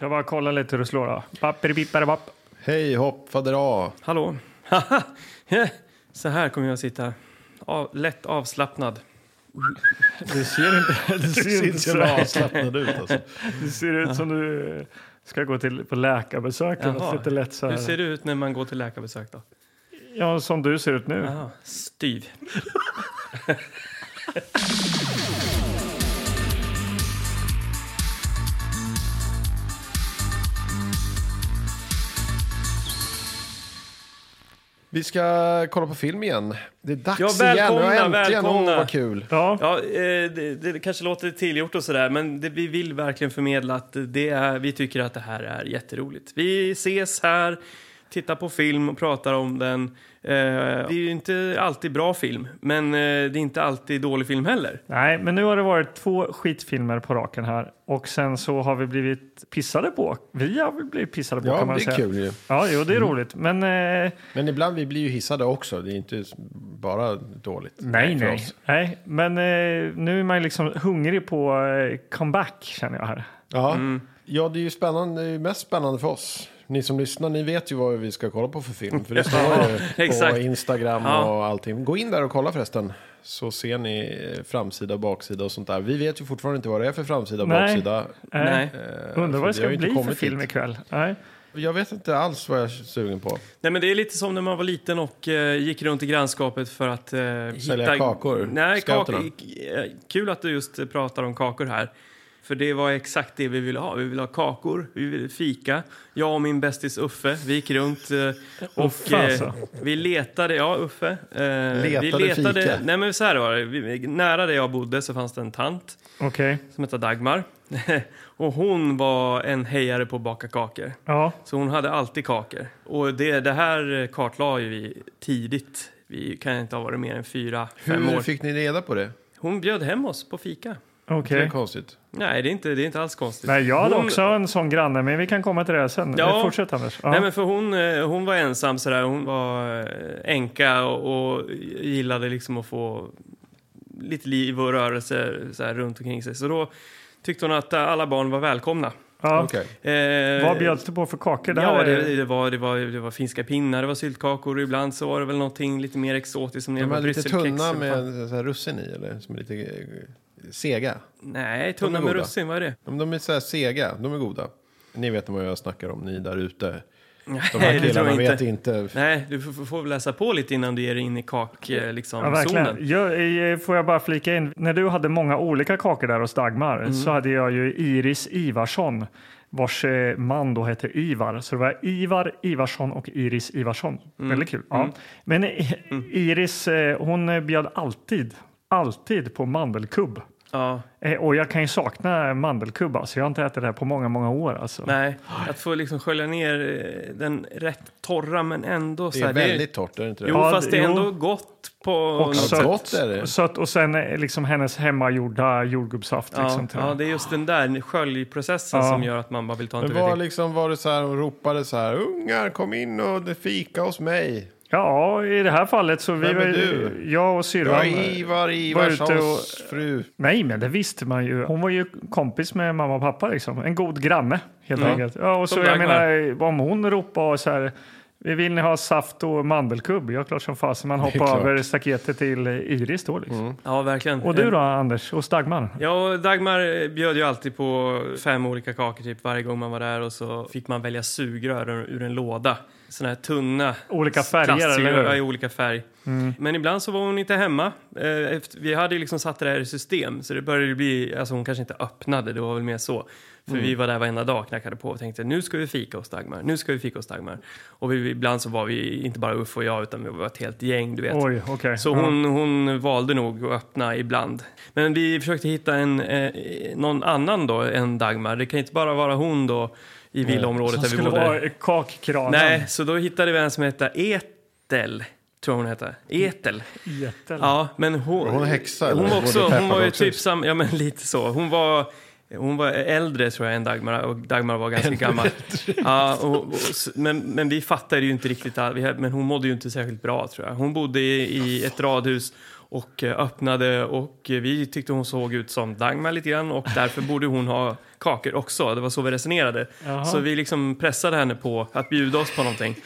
Jag bara kollar lite hur du slår då. Papperipipparapapp. Hej hopp fadera. Hallå. Så här kommer jag att sitta. Av, lätt avslappnad. Du ser inte, du Du ser ser inte så så jävla här. avslappnad ut alltså. Du ser ut som du eh, ska gå till på läkarbesök. eller något Jaha. Lite lätt så Hur ser här. det ut när man går till läkarbesök då? Ja, som du ser ut nu. Aha, styv. Vi ska kolla på film igen. Det är dags Ja, välkomna, igen. Och äntligen, välkomna. Åh, vad kul. Ja. Ja, eh, det, det kanske låter tillgjort och sådär, men det, vi vill verkligen förmedla att det är, vi tycker att det här är jätteroligt. Vi ses här, tittar på film och pratar om den. Eh, det är ju inte alltid bra film, men eh, det är inte alltid dålig film heller. Nej, men nu har det varit två skitfilmer på raken här och sen så har vi blivit pissade på. Vi har väl blivit pissade på Ja, kan man det är säga. kul Mm. ju. Ja, jo, det är roligt, men eh, Men ibland vi blir ju hissade också. Det är inte bara dåligt. nej, för nej, oss. nej, men eh, nu är man ju liksom hungrig på eh, comeback känner jag här. Ja. Mm. ja, det är ju spännande. Det är ju mest spännande för oss. Ni som lyssnar, ni vet ju vad vi ska kolla på för film. För det står ju exakt. på Instagram Ja. och allting. Gå in där och kolla förresten. Så ser ni eh, framsida och baksida och sånt där. Vi vet ju fortfarande inte vad det är för framsida och Nej. baksida. Eh, Nej. Eh, Undrar vad det för alltså, vi ska har ju inte bli för kommit film dit. ikväll. Nej. Jag vet inte alls vad jag är sugen på. Nej, men det är lite som när man var liten och eh, gick runt i grannskapet för att eh, Sälja hitta... kakor, Nej, scouterna. kakor. eh, Kul att du just eh, pratar om kakor här. För det var exakt det vi ville ha. Vi ville ha kakor, vi ville fika. Jag och min bästis Uffe, vi gick runt eh, och Uffe, eh, alltså. vi letade, ja Uffe. eh, vi Letade letade fika. Nej men så här var det, vi, nära där jag bodde så fanns det en tant Okej, som hette Dagmar. och hon var en hejare på att baka kakor. ja, Så hon hade alltid kakor. Och det, det här kartlade ju vi tidigt. Vi kan inte ha varit mer än fyra, fem Hur år. fick ni reda på det? Hon bjöd hem oss på fika. Det okej. är konstigt. Nej, det är inte, det är inte alls konstigt. Nej, jag hade Hon- också en sån granne, men vi kan komma till det här sen. Ja. Fortsätt Anders. Ja. Nej, men för hon, eh, hon var ensam sådär. Hon var eh, änka och, och gillade liksom att få lite liv och rörelse sådär, runt omkring sig. Så då tyckte hon att eh, alla barn var välkomna. ja. Okej. Eh, Vad bjöds det på för kakor? Det här Ja, är- det, det, var, det, var, det var finska pinnar, det var syltkakor och ibland så var det väl någonting lite mer exotiskt som De jävla är lite brysselkex tunna eller vad fan. med så här russin i, eller? Som är lite eh, sega. Nej, De tunna är med goda. russin, vad är det? De, de är så här sega, de är goda. Ni vet vad jag snackar om, ni där ute. De Nej, här det tror killarna jag inte. vet inte. Nej, du får, får väl läsa på lite innan du ger dig in i kakzonen. Liksom, Ja, verkligen. zonen. Jag, eh, får jag bara flika in, när du hade många olika kakor där hos Dagmar Mm. så hade jag ju Iris Ivarsson vars eh, man då hette Ivar. Så det var Ivar Ivarsson och Iris Ivarsson. Mm. Väldigt kul. Ja. Men eh, Iris, eh, hon eh, bjöd alltid, alltid på mandelkubb. ja, Eh, Och jag kan ju sakna mandelkubb, alltså. jag har inte ätit det här på många, många år. Alltså. nej. Att få liksom skölja ner eh, den rätt torra men ändå Det så är här. väldigt torrt, är det inte det? jo, Ja, fast det är jo. ändå gott på Och något sött. sätt. Gott är det. Sött och sen eh, liksom hennes hemmagjorda jordgubbssaft. Ja, liksom, till ja, den. det är just den där sköljprocessen Ja. som gör att man bara vill ta en Men var tugga till. liksom var det så här, hon ropade så här, ungar kom in och fika hos mig. ja, i det här fallet så vi Vem är var ju, du? jag och Det var syrran. eh, Ivar Ivarssons fru. Nej, men det visste man ju. Hon var ju kompis med mamma och pappa. Liksom. En god granne, helt enkelt. Ja, och så, Som jag Dagmar. menar, om hon ropade så här... Vill ni ha saft och mandelkubb? Ja, klart som fasen. Man är hoppar klart. Mm. över staketet till Iris då. Liksom. Ja, verkligen. Och du då, Anders? Och Dagmar? Ja, och Dagmar bjöd ju alltid på fem olika kakor typ varje gång man var där och så fick man välja sugrör ur ur en låda. Såna här tunna. Olika färger, eller hur? Mm. eller i olika färg. Men ibland så var hon inte hemma. Eh, efter- Vi hade ju liksom satt det här i system så det började ju bli, alltså hon kanske inte öppnade, det var väl mer så. För Mm. vi var där varenda dag och knackade på och tänkte nu ska vi fika hos Dagmar, nu ska vi fika hos Dagmar. Och vi, ibland så var vi inte bara Uffe och jag utan vi var ett helt gäng, du vet. Oj, okej. Så hon, hon valde nog att öppna ibland. Men vi försökte hitta en, eh, någon annan då än Dagmar. Det kan inte bara vara hon då i villaområdet Som där vi skulle bodde. vara kakkranen. Nej, så då hittade vi en som hette Etel. Tror jag hon hette. Etel. Jätte- Ja, men hon... Hon är häxa, eller? Hon var, Hon också, bodde i hon var ju Pepparkakshus. typ sam, Ja, men lite så. Hon var... Hon var äldre tror jag än Dagmar och Dagmar var ganska gammal. Ja, och, och, s- men, men vi fattade ju inte riktigt all, vi, Men hon mådde ju inte särskilt bra tror jag. Hon bodde i, i ett radhus och eh, öppnade och eh, vi tyckte hon såg ut som Dagmar lite grann och därför borde hon ha kakor också. Det var så vi resonerade. Jaha. Så vi liksom pressade henne på att bjuda oss på någonting.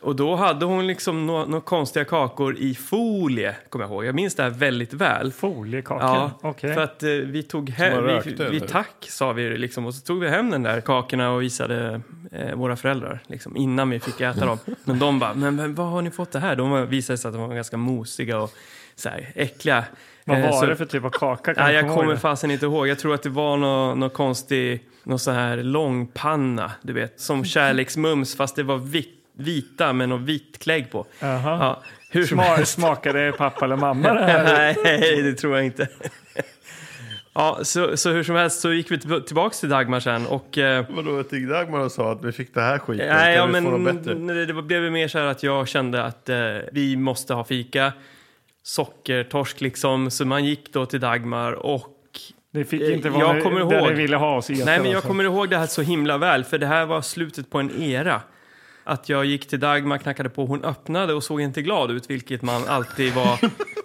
Och då hade hon liksom några nå konstiga kakor i folie, kommer jag ihåg. Jag minns det här väldigt väl. Foliekakor? Ja, Okej. för att eh, vi tog man hem, rökte, vi, vi eller? tack sa vi liksom och så tog vi hem den där kakorna och visade eh, våra föräldrar liksom, innan vi fick äta dem. Men de bara, men, men vad har ni fått det här? De var- visade sig att de var ganska mosiga och så här, äckliga. Vad Eh, var så- det för typ av kaka? Kan Nej, du jag komma ihåg kommer det? fasen inte ihåg. Jag tror att det var någon, någon konstig, någon sån här långpanna, du vet, som kärleksmums fast det var vitt, vita med någon vitt klägg på. Jaha. Ja, hur som Sma- smakade pappa eller mamma det här? Nej, det tror jag inte. Ja, så, så hur som helst så gick vi till- tillbaks till Dagmar sen och... Eh, Vadå, jag till Dagmar och sa att vi fick det här skiten, nej, ja, kan vi få men något bättre? nej, det blev ju mer så här att jag kände att eh, vi måste ha fika, sockertorsk liksom, så man gick då till Dagmar och Det fick Eh, inte vara jag ni- kommer där ihåg. ni ville ha oss i Nej, men Ekerö, jag så. kommer ihåg det här så himla väl, för det här var slutet på en era. Att jag gick till Dagmar, knackade på, hon öppnade och såg inte glad ut, vilket man alltid var.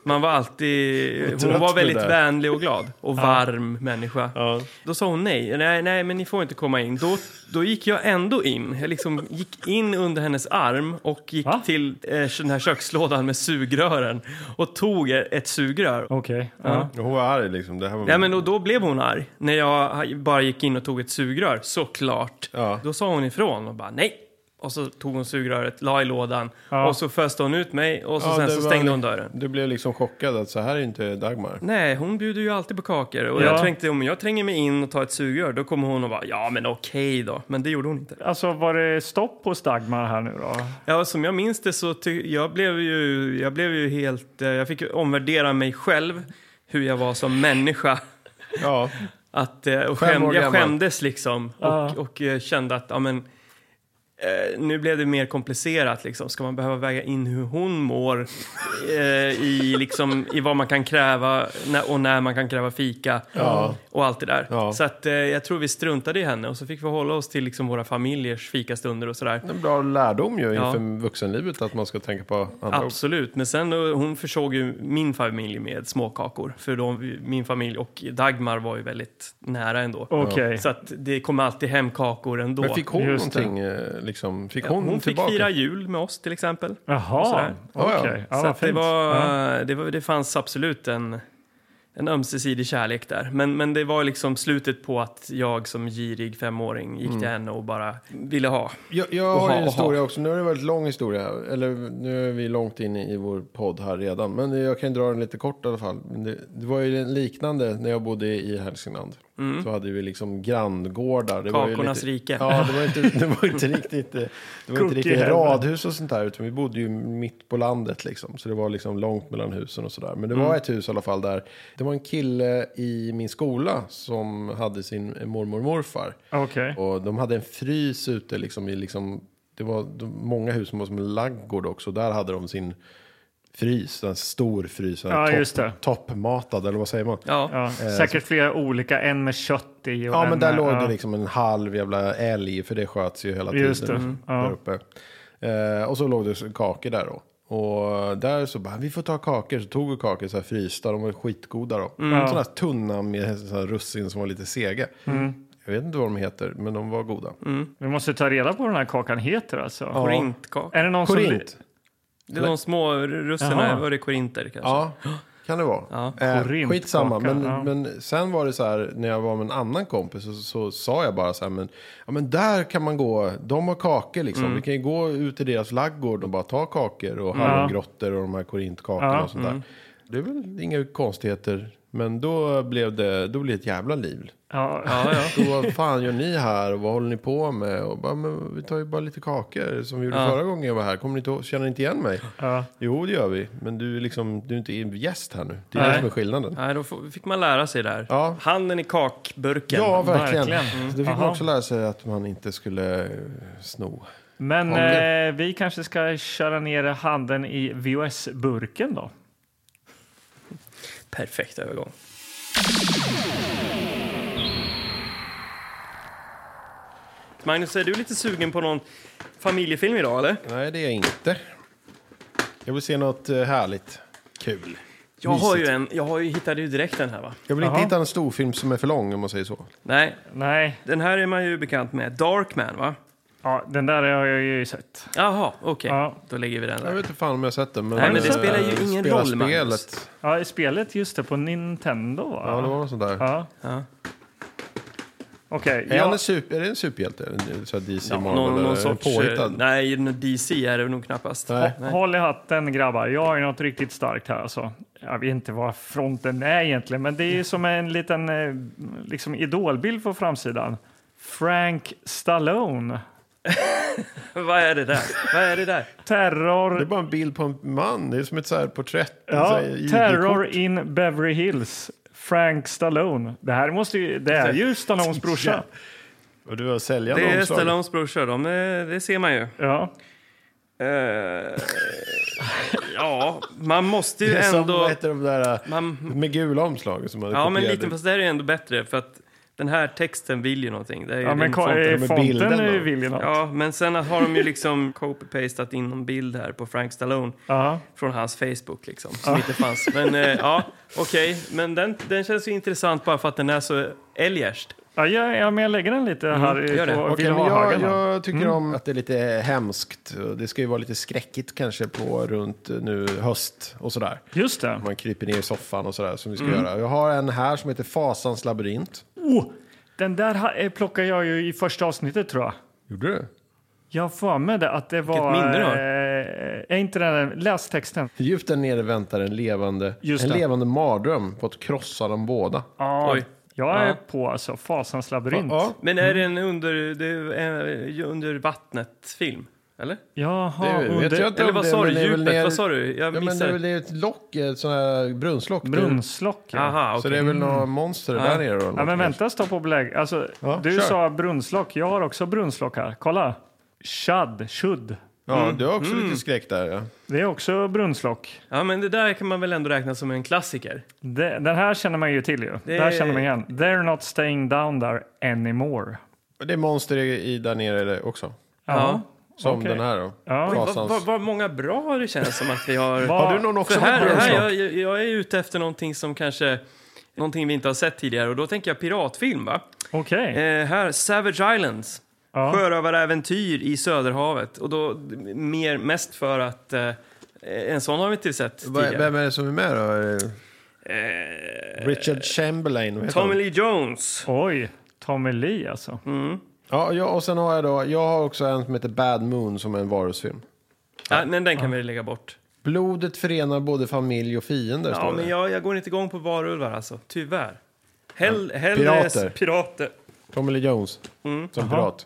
Man var alltid, trött hon var med det väldigt där. vänlig och glad och varm människa. Ja. Då sa hon nej, nej, nej, men ni får inte komma in. Då, då gick jag ändå in. Jag liksom gick in under hennes arm och gick Va? till eh, den här kökslådan med sugrören och tog ett sugrör Okej. Ja. Hon var arg liksom. Det här var Ja, men och då blev hon arg. När jag bara gick in och tog ett sugrör, såklart. Ja. Då sa hon ifrån och bara nej. Och så tog hon sugröret, la i lådan Ja. och så föste hon ut mig och så Ja, sen det så var- stängde hon dörren. Du blev liksom chockad att så här är inte Dagmar. Nej, hon bjuder ju alltid på kakor. Och Ja. jag tänkte om jag tränger mig in och tar ett sugrör då kommer hon och bara ja men okej då. Men det gjorde hon inte. Alltså var det stopp hos Dagmar här nu då? Ja, som jag minns det så ty- jag blev ju, jag blev ju helt, eh, jag fick ju omvärdera mig själv hur jag var som människa. Ja, Att, eh, och Fem skäm, år jag gammal. skämdes liksom och, Ja. och eh, kände att ja, men, eh, nu blev det mer komplicerat. Liksom. Ska man behöva väga in hur hon mår eh, i, liksom, i vad man kan kräva när, och när man kan kräva fika Ja. och allt det där. Ja. Så att, eh, jag tror vi struntade i henne och så fick vi hålla oss till liksom, våra familjers fikastunder och sådär. en bra lärdom ju Ja. inför vuxenlivet att man ska tänka på andra också. Absolut, men sen eh, hon försåg ju min familj med småkakor. För de, min familj och Dagmar var ju väldigt nära ändå. Okej. Så att det kom alltid hem kakor ändå. Men fick hon Just det. någonting eh, liksom? Fick Ja, hon, hon fick tillbaka? fira jul med oss till exempel. Jaha, Sådär. Ja, okej. Ja, ja. så vad att det, fint. var, Ja. det, var, det fanns absolut en, en ömsesidig kärlek där. Men, men det var liksom slutet på att jag som girig femåring gick till henne och bara ville ha. Jag, jag har Oha, en historia oha. också. Nu har det varit lång historia. här. Eller nu är vi långt in i vår podd här redan. Men jag kan dra den lite kort i alla fall. Men Det, det var ju en liknande när jag bodde i Hälsingland. Så hade vi liksom granngårdar. Det var ju Mm. Kakornas lite, rike. Ja, det var inte, det var inte riktigt, eh, det var inte riktigt Cookie-hem. radhus och sånt där. Utan vi bodde ju mitt på landet liksom. Så det var liksom långt mellan husen och sådär. Men det Mm. var ett hus i alla fall där. Det var en kille i min skola som hade sin mormor och morfar. Okej. Och de hade en frys ute liksom i liksom, det var de, många hus som var som en laggård också. Där hade de sin frys, en stor frys, en Ja, topp- just det. toppmatad eller vad säger man? Ja. Ja, säkert flera olika, en med kött i. Och Ja, en men där med, låg ja. det liksom en halv jävla älg, för det sköts ju hela Just tiden det, där ja. uppe. Eh, och så låg det så- kakor där då. Och där så bara, vi får ta kakor. Så tog vi kakor så här frysta, de var skitgoda då. Mm. Sådana här tunna med så här russin som var lite sega. Mm. Jag vet inte vad de heter, men de var goda. Vi måste ta reda på vad den här kakan heter alltså. Korintkaka. Är det någon Korint. Det är de små russerna, Jaha. var det korinter kanske? Ja, kan det vara. Ja. Eh, Korint- skitsamma, kaka, men, ja. men sen var det så här när jag var med en annan kompis så, så sa jag bara så här, men, ja, men där kan man gå, de har kakor liksom. Mm. Vi kan ju gå ut i deras laggård och bara ta kakor och hallongrottor och de här korintkakorna Ja, Mm. och sånt där. Det är väl inga konstigheter, men då blev det, då blev det ett jävla liv. Som, ja. Ja, ja. Så vad fan gör ni här och vad håller ni på med? Och bara, men vi tar ju bara lite kakor som vi gjorde förra gången jag var här. Kommer ni inte, ihåg- känner ni inte igen mig? Ja. Jo, det gör vi. Men du är, liksom, du är inte gäst här nu. Det är Nej. det som är skillnaden. Nej, då f- fick man lära sig där. Ja. Handen i kakburken. Ja, verkligen. verkligen. Mm. Så Då fick man Aha. också lära sig att man inte skulle eh, sno. Men Har vi- eh, vi kanske ska köra ner handen i VHS-burken då. Perfekt övergång. Magnus, är du lite sugen på någon familjefilm idag eller? Nej, det är jag inte. Jag vill se något eh, härligt. Kul. Jag har ju en, jag har ju, hittade ju direkt den här va? Jag vill inte Jaha. hitta en storfilm som är för lång om man säger så. Nej, Nej, den här är man ju bekant med. Darkman va? ja, den där har jag ju sett. Jaha, okej. Ja. Då lägger vi den Jag där. vet inte fan om jag har sett den. Men, Nej, men det eh, spelar ju ingen spela roll, Magnus. spelet. Ja, i spelet just det, på Nintendo va? Ja, det var något sånt där. Ja. Ja. Okej, Är, han ja, en super, är det en superhjälte? En eh, så här DC Ja, Marvel? någon, eller är någon det sorts... Påhittad? eh, Nej, en DC är det nog knappast. Nej. håll i hatten grabbar, jag har ju något riktigt starkt här alltså. Jag vet inte vad fronten är egentligen, men det är ju som en liten eh, liksom idolbild på framsidan. Frank Stallone. Vad är det där? Vad är det där? Terror Det är bara en bild på en man. Det är som ett så här porträtt. så Ja, här ID-kort. Terror in Beverly Hills. Frank Stallone. Det här måste ju, det är ju Stallones brorsa. Och du har säljande Det är omslag. Stallones brorsor, de, är- det ser man ju. Ja. Eh, ja, man måste ju Det är som, ändå... vad heter de där eh, Man, med gula omslag som man ja, men kopierade. lite, fast det här är ändå bättre för att den här texten vill ju någonting. Det är ju ja, men din ko- font. eh, med fonten bilden är ju då. vill ju något. Ja. Ja, men sen har de ju liksom copy-pastat in någon bild här på Frank Stallone från hans Facebook liksom, som inte fanns. Men eh, ja, okej, men den, den känns ju intressant bara för att den är så eljest. Ja, ja, ja, men jag lägger den lite här i- gör det. på Mm. Okej, men jag, Villahagen. jag tycker om att det är lite hemskt. Det ska ju vara lite skräckigt kanske på runt eh, nu höst och sådär. Just det. Man kryper ner i soffan och sådär som vi ska göra. Jag har en här som heter Fasans labyrint. Oh, den där ha- eh, plockade jag ju i första avsnittet tror jag. Gjorde du? Jag har för mig det att det var... minne du har. eh, är inte den där, läs texten. Djupt där nere väntar en levande, Just en det. levande mardröm på att krossa dem båda. Ja, Oj. jag är Ja. på alltså, Fasans labyrint. Ja, Men är det Mm. en under, det är en under vattnet-film? Eller? Jaha, Det vet under jag inte. Eller vad det- sa men du? det är väl Djupet? ner- Vad sa du? ja, Jag men det missade. är väl det är ett lock, ett sånt här brunnslock. typ. brunnslock. ja. Aha, Så okej. det är väl några monster där nere då? eller Ja, men något vänta, stå på belägg. Alltså, Ja, du kör. sa brunnslock. Jag har också brunnslock här. Kolla. Shad, shud. kanske. Mm. Ja, du har också lite skräck där ja. Det är också brunnslock. Ja, men det där kan man väl ändå räkna som en klassiker? Det, den här känner man ju till ju. Det här känner man igen. They're not staying down there anymore. Det är monster i, i där nere det också. Ja. Som Okej. den här då. Ja. Oj, Vad Fasans. vad- vad många bra det känns som att vi Vad- har. Har du någon också För här, med här, brunnslock? jag, jag- jag är ute efter någonting som kanske, någonting vi inte har sett tidigare och då tänker jag piratfilm va? Okej. Eh, här, Savage Islands. Ja. Sjörövaräventyr i Söderhavet och då mer, mest för att eh, en sån har vi inte sett V- tidigare. Vem är det som är med då? Är det Richard Chamberlain? vad heter Eh, Tommy han? Lee Jones. Oj, Tommy Lee alltså. Ja, jag, och sen har jag då, jag har också en som heter Bad Moon som är en varusfilm. Ja, men den kan vi lägga bort. Blodet förenar både familj och fiender, Ja, står det. men jag, jag går inte igång på varulvar alltså, tyvärr. Hell, hellre Pirater. pirater. Tommy Lee Jones Mm. som pirat.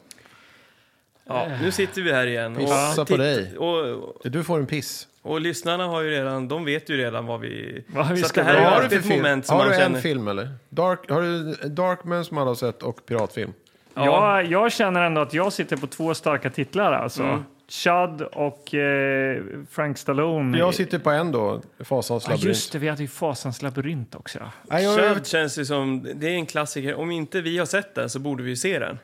Ja, nu sitter vi här igen. och Pissa på titt- dig. Och, Du får en piss. och lyssnarna har ju redan, de vet ju redan vad vi... Vad vi så att ska det här dra. är Vad ju har alltid ett moment som har man du en känner... film eller? Dark, har du Darkman som alla har sett och piratfilm? Ja, Jag, jag känner ändå att jag sitter på två starka titlar alltså. Shad och eh, Frank Stallone. Jag sitter på en då, Fasans ja, labyrint. just det, vi hade ju Fasans labyrint också. ja. Nej, jag, Shud känns ju som, det är en klassiker. Om inte vi har sett den så borde vi ju se den.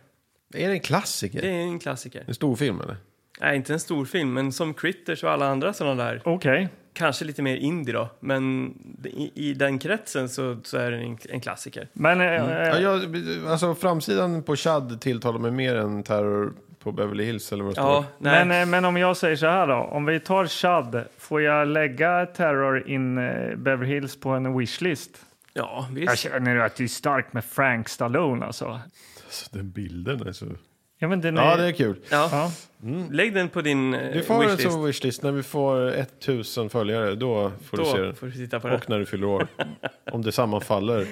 är det en klassiker? Det är en klassiker. En stor film Eh. eller? Nej, inte en stor film, men som Critters och alla andra sådana där. Okej. Kanske lite mer indie då, men i, i den kretsen så, så är den en, en klassiker. Men... Eh, Mm. Ja, eh, jag, alltså framsidan på Chad tilltalar mig mer än terror på Beverly Hills eller vad det Ja, står. nej. Men, eh, men om jag säger så här då, om vi tar Chad, får jag lägga Terror in eh, Beverly Hills på en wishlist? ja, Jag visst. känner ju att det är starkt med Frank Stallone alltså. Alltså, den bilden är så... Ja, men den är, Ja, det är kul. Ja, ja. lägg den på din eh, Du får en wishlist. som wishlist. När vi får 1000 följare, då får du se Då den. får du titta på den. Och när du fyller år. Om det sammanfaller.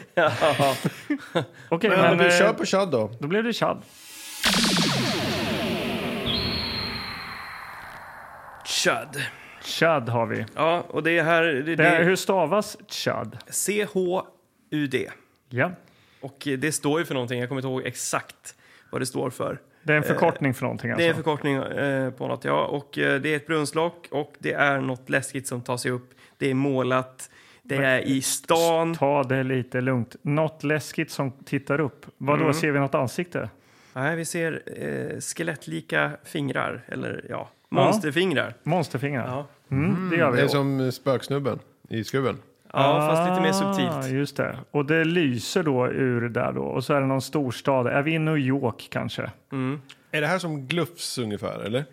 Okej, Men, men, du eh, kör på Chad då. då blev det Chad. Chud. Chad har vi. Ja, och det är här... Det, Det, det, hur stavas Chad? C-H-U-D. Ja. Och eh, det står ju för någonting, jag kommer inte ihåg exakt vad det står för. Det är Eh, en förkortning för någonting Det är alltså. en förkortning eh, på något, ja. Och eh, det är ett brunnslock och det är något läskigt som tar sig upp. Det är målat, det är i stan. Ta det lite lugnt. Något läskigt som tittar upp. Vad då Mm. ser vi något ansikte? Nej, vi ser eh, skelettlika fingrar, eller ja, monsterfingrar. Monsterfingrar? Ja. Mm, det gör Det vi. är som spöksnubben i skruven. Ja. Ja, fast lite mer Ah, subtilt. Just det. Och det lyser då ur där då. Och så är det någon storstad. Är vi i New York kanske? Är det här som Glufs ungefär, eller?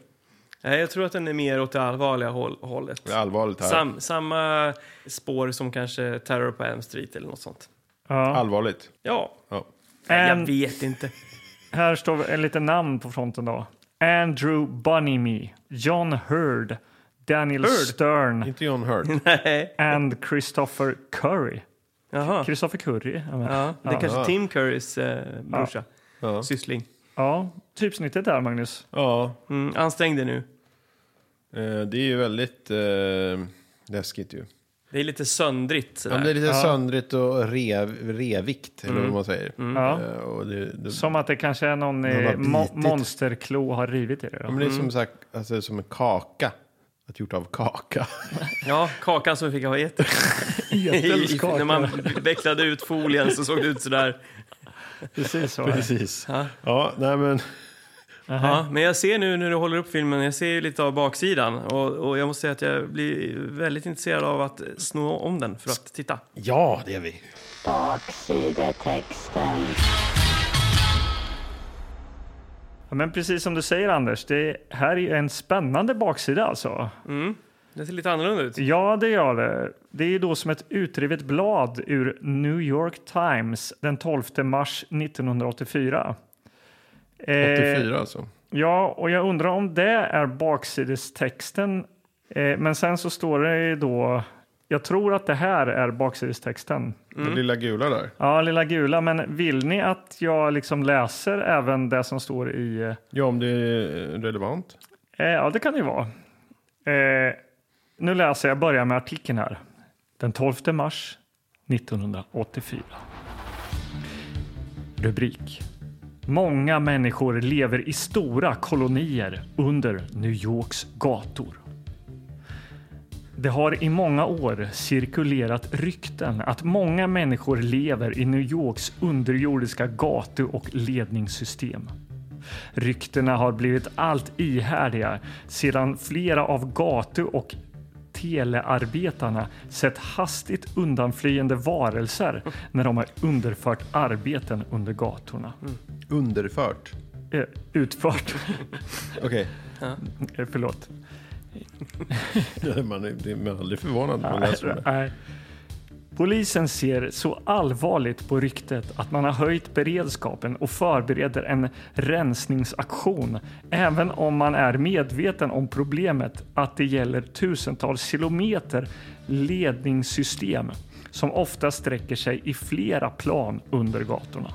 Nej, jag tror att den är mer åt det allvarliga håll, hållet. Det är allvarligt här. Sam, samma spår som kanske Terror på Elm Street eller något sånt. Ja. Allvarligt. Ja, Ja. jag And, vet inte. här står en liten namn på fronten då. Andrew Bunyme, John Hurd, Daniel Hurd? Stern Inte John Hurt. Nej. and Christopher Curry. Jaha. Christopher Curry? Ja, men- Ja, det är kanske Ja. Tim Currys eh, brorsa. Syssling. ja, typsnittet där Magnus. Ja, Mm, ansträng dig nu. eh, det är ju väldigt eh, läskigt ju. Det är lite söndrigt Ja, sådär. men det är lite söndrigt och rev, revigt, eller vad man säger. Ja. Eh, och det, det, Som att det kanske är någon har eh, mo- bitit. monsterklo har rivit i det. ja, men det är som, så här, alltså, som en kaka. Att gjort av kaka. Ja, kakan som vi fick ha i eter. I- i- När man vecklade ut folien så såg det ut sådär. Precis så. Precis. Ja. nej men. Ja, men jag ser nu när du håller upp filmen, jag ser ju lite av baksidan och, och jag måste säga att jag blir väldigt intresserad av att sno om den för att titta. Ja, det är vi. Baksidetexten. Ja, men precis som du säger Anders, det här är ju en spännande baksida alltså. Den ser lite annorlunda ut. Ja, det gör det. Det är ju då som ett utrivet blad ur New York Times den 12 mars 1984. Eh, 84 alltså. Ja, och jag undrar om det är baksidestexten. Eh, men sen så står det ju då... Jag tror att det här är baksidestexten. Den lilla gula där. Ja, lilla gula. Men vill ni att jag liksom läser även det som står i... eh, Ja, om det är relevant. Eh, ja, det kan det ju vara. Eh, nu läser jag, börjar med artikeln här. Den 12 mars 1984. Rubrik. Många människor lever i stora kolonier under New Yorks gator. Det har i många år cirkulerat rykten att många människor lever i New Yorks underjordiska gatu och ledningssystem. Ryktena har blivit allt ihärdiga sedan flera av gatu och telearbetarna sett hastigt undanflyende varelser när de har underfört arbeten under gatorna. Underfört. Eh, utfört. Okej. Eh, Förlåt. Ja, man, är- det- man är aldrig förvånad när man läser om det. Nej. Polisen ser så allvarligt på ryktet att man har höjt beredskapen och förbereder en rensningsaktion. Även om man är medveten om problemet att det gäller tusentals kilometer ledningssystem som ofta sträcker sig i flera plan under gatorna.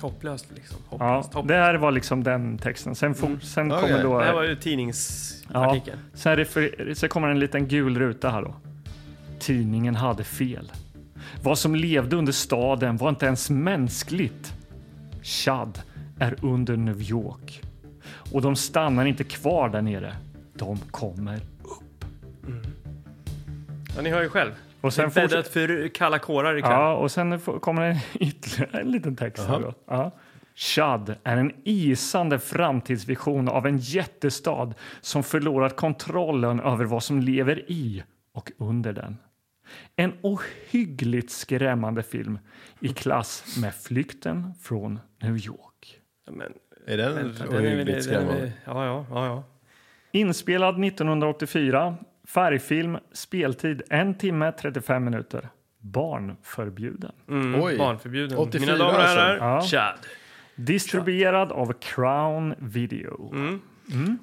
Hopplöst liksom. Ja, Hopplöst, hopplöst. det här var liksom den texten. Sen, for, sen Okej. kommer då... Mm. Det här var ju Ja, tidningsartikeln. sen, refer- sen kommer en liten gul ruta här då. Tidningen hade fel. Vad som levde under staden var inte ens mänskligt. Chad är under New York. Och de stannar inte kvar där nere. De kommer. Ja. ni hör ju själv. Och sen det är fortsätter- bäddat för kalla kårar ikväll. Ja, och sen får- kommer en ytterligare en liten text. Här då. Ja. Chad är en isande framtidsvision av en jättestad som förlorat kontrollen över vad som lever i och under den. En ohyggligt skrämmande film i klass med Flykten från New York. Men, Är den vänta, den är- den är- ohyggligt skrämmande? Ja, ja, ja. ja. Inspelad 1984, färgfilm, speltid 1 timme 35 minuter. Barnförbjuden. Mm, Oj. Barnförbjuden. 84 Mina damer och herrar, alltså. Chad. Distribuerad av Crown Video.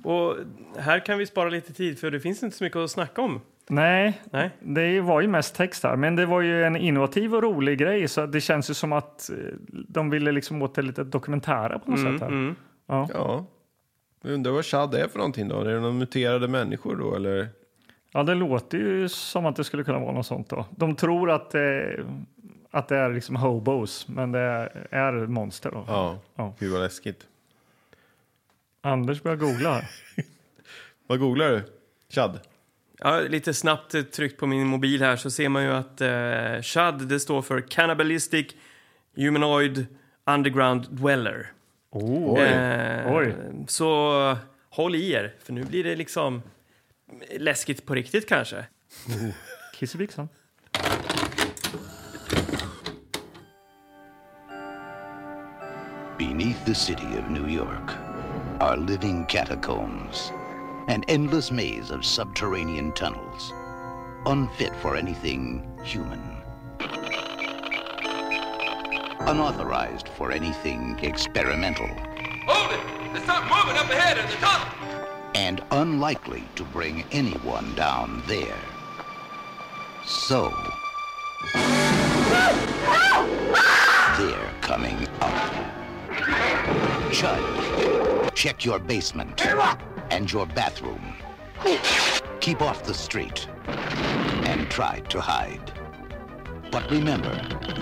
Och här kan vi spara lite tid för det finns inte så mycket att snacka om. Nej, Nej. Det var ju mest text här, men det var ju en innovativ och rolig grej så det känns ju som att eh, de ville liksom åt det lite dokumentära på något Mm, Mm, sätt. Här. Ja. Jag undrar vad Chad är för någonting då? Är det någon muterade människor då eller? Ja, det låter ju som att det skulle kunna vara något sånt då. De tror att, eh, att det är liksom hobos, men det är monster då. Ja. Ja. Gud vad läskigt. Anders börjar googla här. Vad googlar du? Chad? Ja, lite snabbt eh, tryckt på min mobil här så ser man ju att eh, CHAD det står för Cannibalistic Humanoid Underground Dweller. Oh. Eh, Oj. Så håll i er, för nu blir det liksom läskigt på riktigt kanske. Kiss i byxan. Beneath the city of New York are living catacombs, an endless maze of subterranean tunnels, unfit for anything human, unauthorized for anything experimental, Hold it! There's something moving up ahead in the tunnel! and unlikely to bring anyone down there. So, they're coming up. Judge, check your basement and your bathroom. Keep off the street and try to hide. But remember,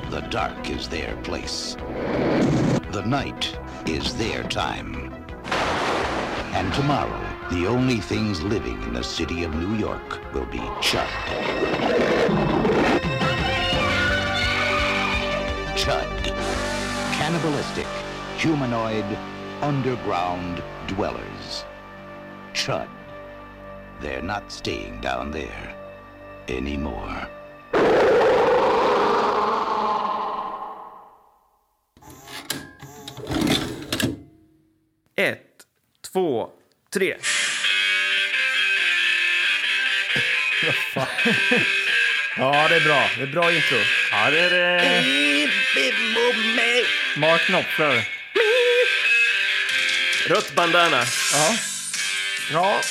the dark is their place. The night is their time. And tomorrow, the only things living in the city of New York will be Chud. Chud. Cannibalistic, humanoid, underground dwellers. Chud. They're not staying down there anymore. Ett, två, tre. Ja, det är bra. Det är bra intro. Ja, det är det. Mark Knopfler. Rött bandana. Ja,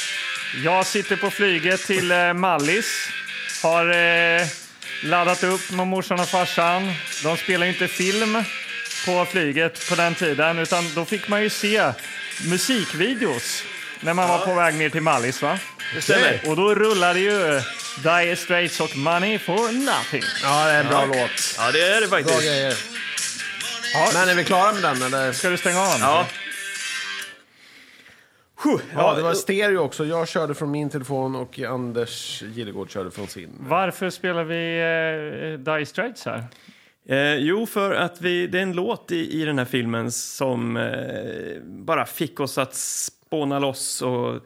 Jag sitter på flyget till eh, Mallis. Har eh, laddat upp med morsan och farsan. De spelar ju inte film på flyget på den tiden utan då fick man ju se musikvideos när man var på väg ner till Mallis. Va? Det stämmer. Och då rullade ju eh, Dire Straits och Money for Nothing. ja det är en bra låt. Ja, det är det Bra faktiskt. grejer. Men är vi klara med den eller? Ska du stänga av? den? Ja. Huh, Ja, det var stereo också. Jag körde från min telefon och Anders Gillegård körde från sin. Varför spelar vi eh, Dire Straits här? Eh, jo, för att vi, det är en låt i, i den här filmen som eh, bara fick oss att spåna loss. Och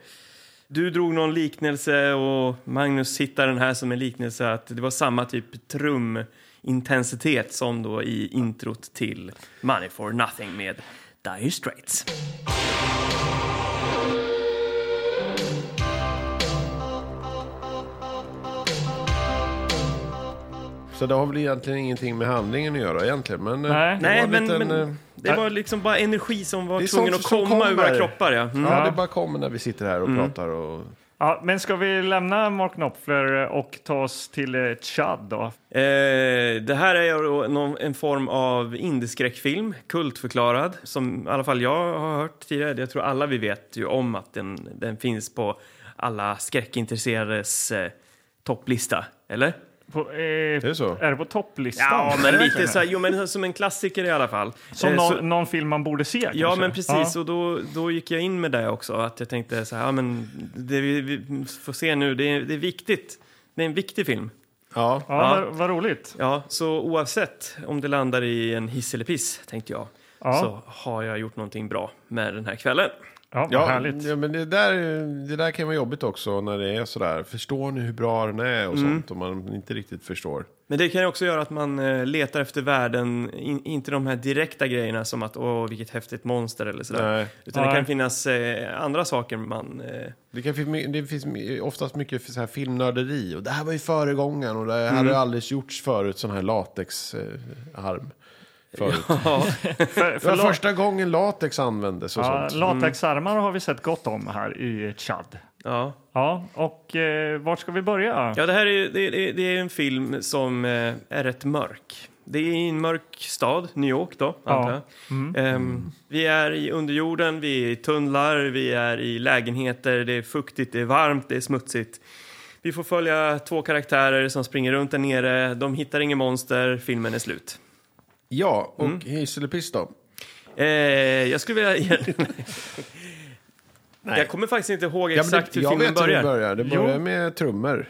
du drog någon liknelse och Magnus hittade den här som en liknelse att det var samma typ trumintensitet som då i introt till Money for Nothing med Dire Straits. Så det har väl egentligen ingenting med handlingen att göra egentligen. Men eh, Nej. det var Nej, en men, liten, eh, men det var liksom bara energi som Det var är tvungen att sånt som komma ur våra kommer. kroppar. Ja. Mm. Ja, det bara kommer när vi sitter här och pratar. Och... Ja, men ska vi lämna Mark Knopfler och ta oss till eh, Chad då? Eh, det här är då någon, en form av indieskräckfilm, kultförklarad, som i alla fall jag har hört tidigare. Jag tror alla vi vet ju om att den, den finns på alla skräckintresserades eh, topplista, eller? På, eh, är det så? Är det på topplistan? Ja, men lite så här, jo, men som en klassiker i alla fall. Som Eh, någon, så- någon film man borde se kanske? Ja, men precis. Ja. Och då, då gick jag in med det också. Att jag tänkte så här, ja, men det vi, vi får se nu, det är, det är viktigt. Det är en viktig film. Ja. Ja, Ja. Vad, vad roligt. Ja, så oavsett om det landar i en hiss eller piss, tänkte jag, så har jag gjort någonting bra med den här kvällen. Ja, vad Ja, härligt. ja, men det där, det där kan vara jobbigt också när det är sådär. Förstår ni hur bra den är och sånt om man inte riktigt förstår. Men det kan ju också göra att man eh, letar efter värden, in, inte de här direkta grejerna som att åh, vilket häftigt monster eller sådär. Nej. Utan Nej. det kan finnas eh, andra saker man... Eh, Det, kan, fin- det finns oftast mycket så här filmnörderi och det här var ju föregångaren och det här Mm. hade aldrig gjorts förut sån här latexarm. Eh, harm förut. För, det var för la- första gången latex användes och ja, sånt. Mm. latexarmar har vi sett gott om här i Chad. ja. Ja, och eh, vart ska vi börja? ja, det här är, det, det, det är en film som eh, är rätt mörk. Det är i en mörk stad, New York då, antar jag. Mm. Ehm, vi är i underjorden, vi är i tunnlar, vi är i lägenheter, det är fuktigt, det är varmt, det är smutsigt. Vi får följa två karaktärer som springer runt där nere, de hittar inget monster, filmen är slut. Ja, och Mm. hiss eller piss då? Eh, jag skulle vilja... Jag kommer faktiskt inte ihåg Ja, men exakt det, hur jag filmen vet hur börjar. det börjar. Det Jo. börjar med trummor.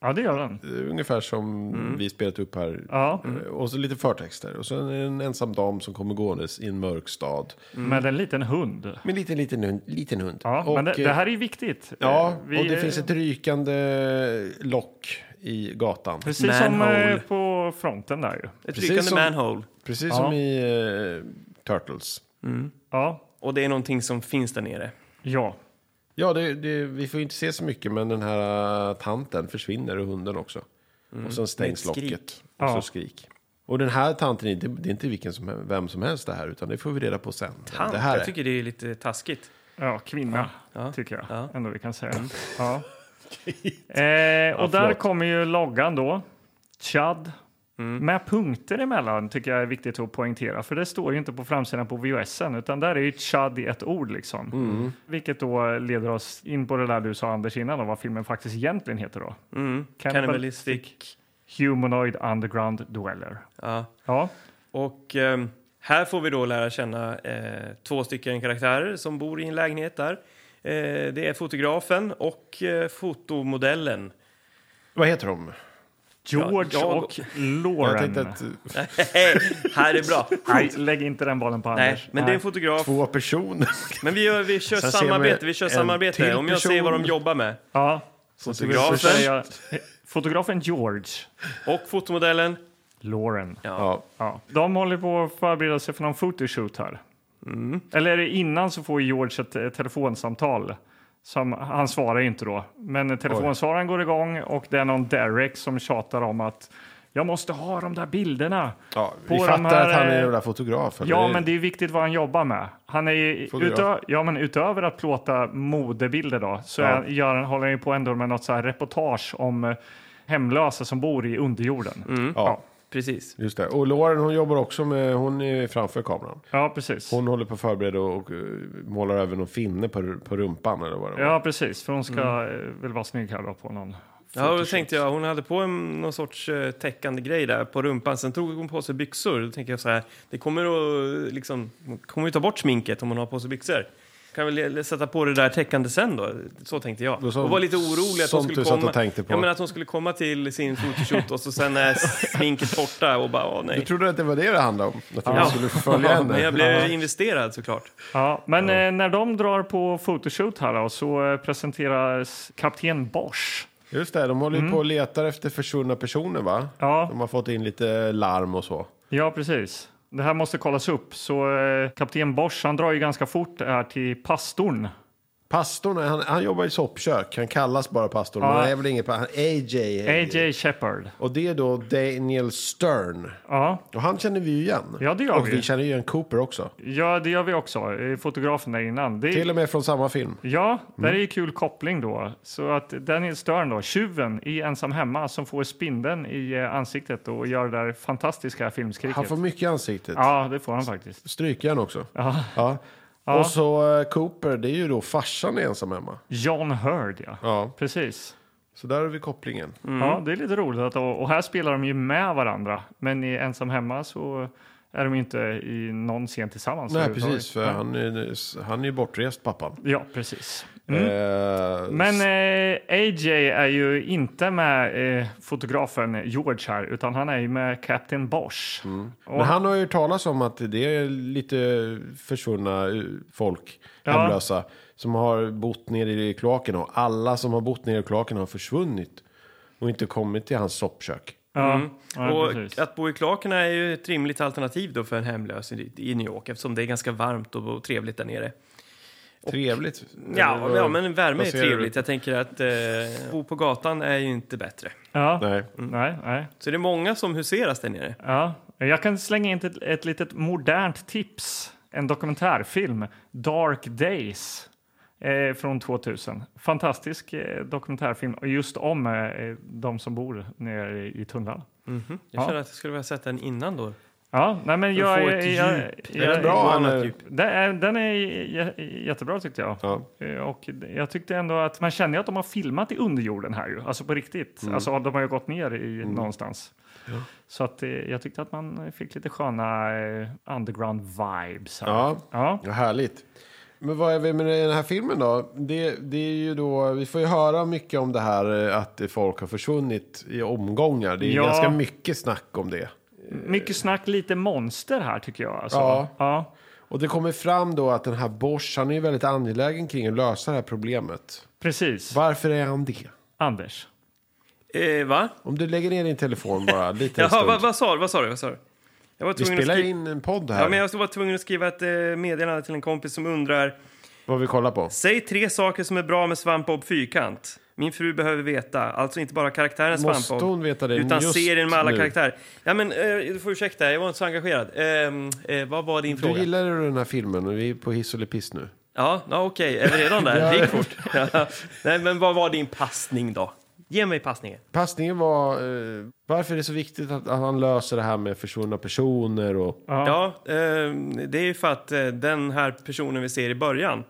Ja, det gör den. Det är Ungefär som Mm. vi spelat upp här. Ja, Mm, Och så lite förtexter. Och så är det en ensam dam som kommer gåendes i en mörk stad. mm. med en liten hund. Med en liten, liten, hund- liten hund. Ja, och, men det, eh, det här är ju viktigt. Ja, Eh, vi- och det finns ett rykande lock i gatan. Precis som manhole. eh, på fronten där ju. Ett Precis rykande som- manhole. Precis som i eh, Turtles. Ja, Och det är någonting som finns där nere. ja. Ja, det, det, vi får inte se så mycket, men den här äh, tanten försvinner och hunden också. Mm. Och sen stängs Med ett skrik. locket. Och Ja. så skrik. Och den här tanten, är inte- det är inte vilken som, vem som helst det här, utan det får vi reda på sen. Tant, det här jag tycker det är lite taskigt. Ja, kvinna, Ja. tycker jag Ja. Mm. ändå vi kan säga. Ja. Eh, och där förlåt. kommer ju loggan då. Chad. Mm. Med punkter emellan tycker jag är viktigt att poängtera. För det står ju inte på framsidan på VHSen utan där är ju Chad i ett ord liksom. Mm. Vilket då leder oss in på det där du sa Anders innan om vad filmen faktiskt egentligen heter då. Mm. Cannibalistic. Humanoid Underground Dweller. Ja. Ja, Och ehm, här får vi då lära känna eh, två stycken karaktärer som bor i en lägenhet där. Eh, det är fotografen och eh, fotomodellen. Vad heter de? George jag- och Jag Lauren. tänkte att eh, Hej, här är bra. Nej, lägg inte den bollen på Nej, Anders. men det är en fotograf. två personer. Men vi, gör, vi kör Sen ser samarbete. vi Vi kör en samarbete. till Om jag ser person. vad de jobbar med. ja. Fotografen. Så säger jag, fotografen George. Och fotomodellen. Lauren. Ja. ja. De håller på att förbereda sig för någon photoshoot här. Mm. Eller är det innan så får George ett eh, telefonsamtal. Som, han svarar ju inte då, men telefonsvararen går igång och det är någon Derek som tjatar om att jag måste ha de där bilderna. Ja, På vi de fattar här, att han är eh, den där fotografen. Ja, men det är viktigt vad han jobbar med. Han är ju Fotograf. utö- ja, men utöver att plåta modebilder då, så Ja. är han, gör, han- håller han ju på ändå med något så här reportage om eh, hemlösa som bor i underjorden. Mm. Ja, Precis. just det. Och Lauren hon jobbar också med, hon är framför kameran. Ja, precis. Hon håller på att förbereda och, och eh, målar över någon finne på, på rumpan eller vad det var. Ja, precis. För hon ska Mm. eh, väl vara snygg här då på någon. Ja, och då tänkte jag, hon hade på en, någon sorts eh, täckande grej där på rumpan. Sen tog hon på sig byxor. Då tänker jag så här, det kommer att eh, liksom, hon kommer ju ta bort sminket om hon har på sig byxor. Kan väl le- sätta på det där täckande sen då? Så tänkte jag. Då sa- och var lite orolig att hon sånt skulle du satt komma. och tänkte på. Ja, men att hon skulle komma till sin photoshoot och så sen är sminket borta och bara, åh Du nej. trodde att det var det det handlade om? Att hon Ja. skulle följa henne? Men jag blev investerad såklart. Ja, men Eh, när de drar på photoshoot här då, så eh, presenteras kapten Bosch. Just det, de håller ju på och letar efter försvunna personer va? Mm. Ja. De har fått in lite larm och så. Ja, precis. Det här måste kollas upp. Så eh, kapten Bosch, han drar ju ganska fort här till pastorn. Pastorn, han, han jobbar i soppkök. Han kallas bara pastorn. Men Ja. han är väl ingen... pa- Han, AJ. AJ Shepard. Och det är då Daniel Stern. Ja, Och han känner vi ju igen. Ja, det gör och vi. vi känner ju igen Cooper också. ja, det gör vi också. eh, Fotografen där innan. Det Till Mm. och med från samma film. Ja, där är ju kul koppling då. Så att Daniel Stern då, tjuven i Ensam hemma som får spindeln i eh, ansiktet och gör det där fantastiska filmskriket. Han får mycket i ansiktet. Ja, det får han faktiskt. Strykjärn också. Ja. Och så eh, Cooper, det är ju då farsan i ensam hemma. John Hurd, ja. Ja. Precis. Så där har vi kopplingen. Ja, det är lite roligt. Att, och och här spelar de ju med varandra, men i Ensam hemma så är de ju inte i någon scen tillsammans. Nej, överhuvudtaget. precis. För han är, han är ju bortrest, pappan. Ja, precis. Eh, Men eh, AJ är ju inte med eh, fotografen George här, utan han är ju med Captain Bosch. Mm. Och Men han har ju hört talas om att det är lite försvunna eh, folk, Ja. hemlösa, som har bott nere i kloakerna. Och alla som har bott nere i kloakerna har försvunnit och inte kommit till hans soppkök. Ja, ja, precis. Och att bo i kloakerna är ju ett rimligt alternativ då för en hemlös i i New York eftersom det är ganska varmt och och trevligt där nere. Trevligt. Eller Ja, vad- ja men värme är vad ser du? trevligt. Jag tänker att eh, bo på gatan är ju inte bättre. ja. Nej. Nej, nej. Så det är många som huseras där nere. Ja. Jag kan slänga in ett, ett litet modernt tips. En dokumentärfilm, Dark Days, eh, från 2000. Fantastisk eh, dokumentärfilm och just om eh, de som bor nere i tunnlarna. Jag Ja. känner att jag skulle vilja sett den innan då. Ja, nej men jag... får ett jag, djup. jag- Är den bra Annat eller? djup. Den är, den är jä- jättebra tyckte jag. Ja. Eh, Och jag tyckte ändå att man känner ju att de har filmat i underjorden här ju, alltså på riktigt. Mm. Alltså de har ju gått ner i någonstans. Så att eh, jag tyckte att man fick lite sköna eh, underground vibes här. Ja. Ja. Ja, härligt. Men vad är vi med den här filmen då? Det, det är ju då, vi får ju höra mycket om det här eh, att folk har försvunnit i omgångar. Det är Ja. ganska mycket snack om det. Mycket snack, lite monster här tycker jag. Alltså. Ja. Ja. Och det kommer fram då att den här Bosch, han är ju väldigt angelägen kring att lösa det här problemet. Precis. Varför är han det? Anders. Eh, va? Om du lägger ner din telefon bara lite en Jaha, stund. vad, vad, sa, du? vad sa du? Vad sa du? Jag var Vi tvungen att spelar skri- in en podd här. Ja, men jag var tvungen att skriva ett eh, meddelande till en kompis som undrar Vad vi kollar på. Säg tre saker som är bra med svampbob fyrkant. Min fru behöver veta, alltså inte bara karaktären Måste svampbob. hon veta det Utan just serien med alla nu? karaktärer. Ja, men eh, du får ursäkta, jag var inte så engagerad. Ehm, eh, vad var din Du fråga? gillar ju den här filmen och vi är på hiss eller piss nu. Ja, ja okej, är vi redan där? Det gick fort. Ja. Nej, men vad var din passning då? Ge mig passningen. Passningen var... Eh, varför är det så viktigt att, att han löser det här med försvunna personer och... Ja, ehm, det är ju för att eh, den här personen vi ser i början,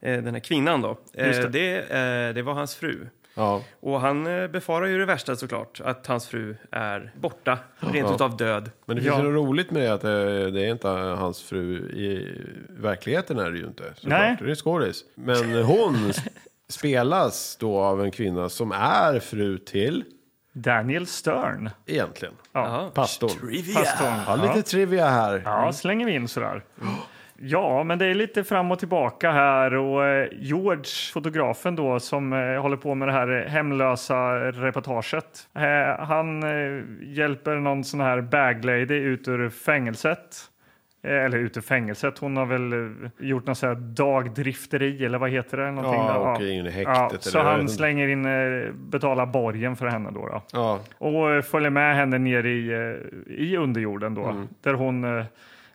eh, den här kvinnan då, eh, det. eh, det var hans fru. Ja. Och han eh, befarar ju det värsta såklart, att hans fru är borta, rent utav död. Men det finns ju något roligt med det att eh, det är inte hans fru i verkligheten är det ju inte. såklart. Nej. Det är en skådis. Men hon s- spelas då av en kvinna som är fru till, Daniel Stern. egentligen, Ja. pastorn. Pastorn. Ja, lite trivia här. Ja, slänger vi in sådär. Ja, men det är lite fram och tillbaka här och eh, George, fotografen då som eh, håller på med det här eh, hemlösa reportaget. Eh, han eh, hjälper någon sån här baglady ut ur fängelset. Eh, eller ut ur fängelset. Hon har väl eh, gjort något sån här dagdrifteri eller vad heter det? Någonting Ja, där. och in i häktet ja, eller Så jag vet han inte. slänger in, eh, betalar borgen för henne då. då Ja. och eh, följer med henne ner i, eh, i underjorden då, Mm. där hon eh,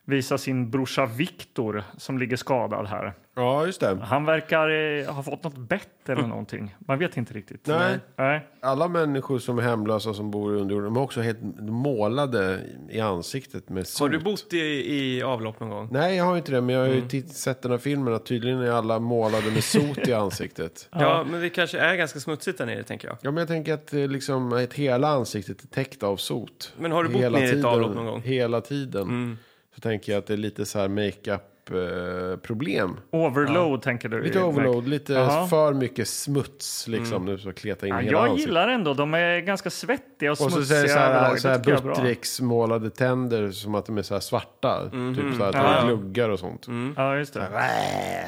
visar sin brorsa Viktor som ligger skadad här. ja, just det. Han verkar eh, ha fått något bett eller någonting. Man vet inte riktigt. Mm. Nej. Nej. Alla människor som är hemlösa som bor i underjorden, de är också helt målade i ansiktet med Har sot. du bott i, i avlopp någon gång? Nej, jag har inte det, men jag har ju Mm. titt- sett den här filmen att tydligen är alla målade med sot i ansiktet. Ja. men det kanske är ganska smutsigt där nere, tänker jag. Ja, men jag tänker att eh, liksom, att hela ansiktet är täckt av sot. Men har du bott hela nere i ett tiden, avlopp någon gång? Hela tiden. Mm. Så tänker jag att det är lite så här makeup-problem. Overload tänker du? lite eh, overload, Mac. lite Jaha. Mm. för mycket smuts liksom. Nu så kleta in Ja, hela jag ansiktet. gillar ändå, de är ganska svettiga och, Och så smutsiga säger så här, överlag. så Det här tycker jag är bra. Buttericks målade tänder som att de är så här svarta. Typ så här, att Mhm. Ja. Mm. de gluggar och sånt. Ja, just det. Äh,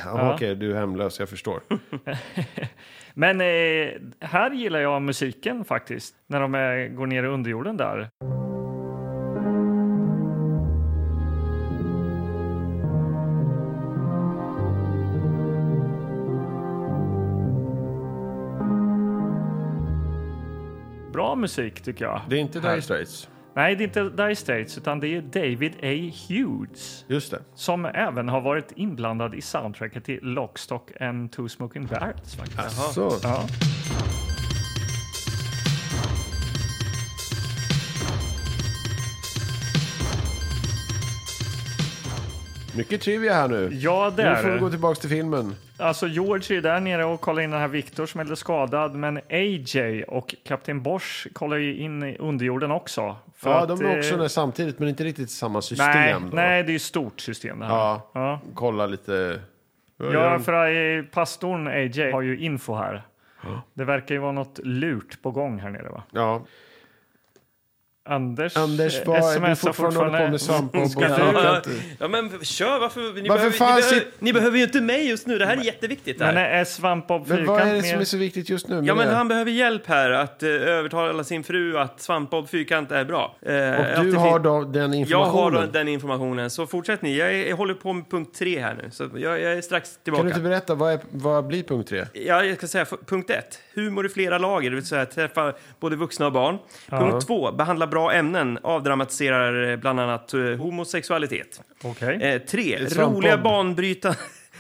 ja. Okej, du är hemlös, jag förstår. Men eh, här gillar jag musiken faktiskt, när de eh, går ner i underjorden där. Bra musik tycker jag. Det är inte Dire Straits. Nej, det är inte Dire Straits utan det är David A. Hughes Just det. som även har varit inblandad i soundtracket till Lockstock and Two Smoking Barrels. Faktiskt. Så. Ja. Mycket trivia här nu. Ja, det Nu är får vi det. gå tillbaka till filmen. Alltså George är där nere och kollar in den här Viktor som är lite skadad, men AJ och Kapten Bosch kollar ju in i underjorden också. För Ja, att, de är också eh, där samtidigt, men inte riktigt samma system. Nej, då. nej, det är ju stort system det här. Ja, Ja. kolla lite. Ja, för eh, pastorn AJ har ju info här. Det verkar ju vara något lurt på gång här nere va? Ja. Anders, eh, Anders, vad, du smsar fortfarande håller på med svamp och Ska jag du- kan Ja, inte- ja, men kör! Varför, ni, Varför behöver, fan ni, behöver, sit- ni behöver ju inte mig just nu, det här är jätteviktigt. Här. Men är Svampbob Men vad är det Fyrkant som är med? så viktigt just nu? med Ja, men det? han behöver hjälp här att eh, övertala sin fru att svampbob fyrkant är bra. Eh, att och det du fin- har då den Jag har informationen? då den informationen, så fortsätt ni. Jag, är, jag håller på med punkt tre här nu, så jag, jag är strax Kan tillbaka. du inte berätta, vad, är, vad blir punkt tre? Ja, jag ska säga f- punkt ett, humor i flera lager, det vill säga träffa både vuxna och barn. Punkt två, behandla bra ämnen, avdramatiserar eh, bland annat eh, homosexualitet. Okej. Eh, tre, svampbob. roliga banbrytande...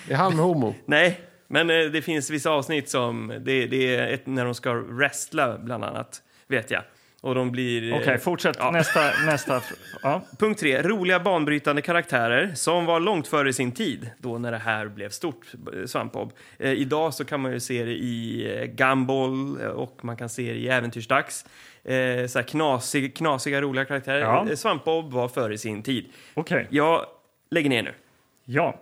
Är han homo? Nej, men eh, det finns vissa avsnitt som, det, det är ett, när de ska wrestla bland annat, vet jag. Och de blir... eh, Okej, fortsätt. ja. Nästa. nästa. Ja. Punkt tre, roliga banbrytande karaktärer som var långt före sin tid, då när det här blev stort, eh, Svampbob. Eh, idag så kan man ju se det i eh, Gumball eh, och man kan se det i Äventyrsdags. Eh, så här knasig, knasiga, roliga karaktärer. Ja. Eh, Svampbob var före sin tid. Okej. Jag lägger ner nu. Ja.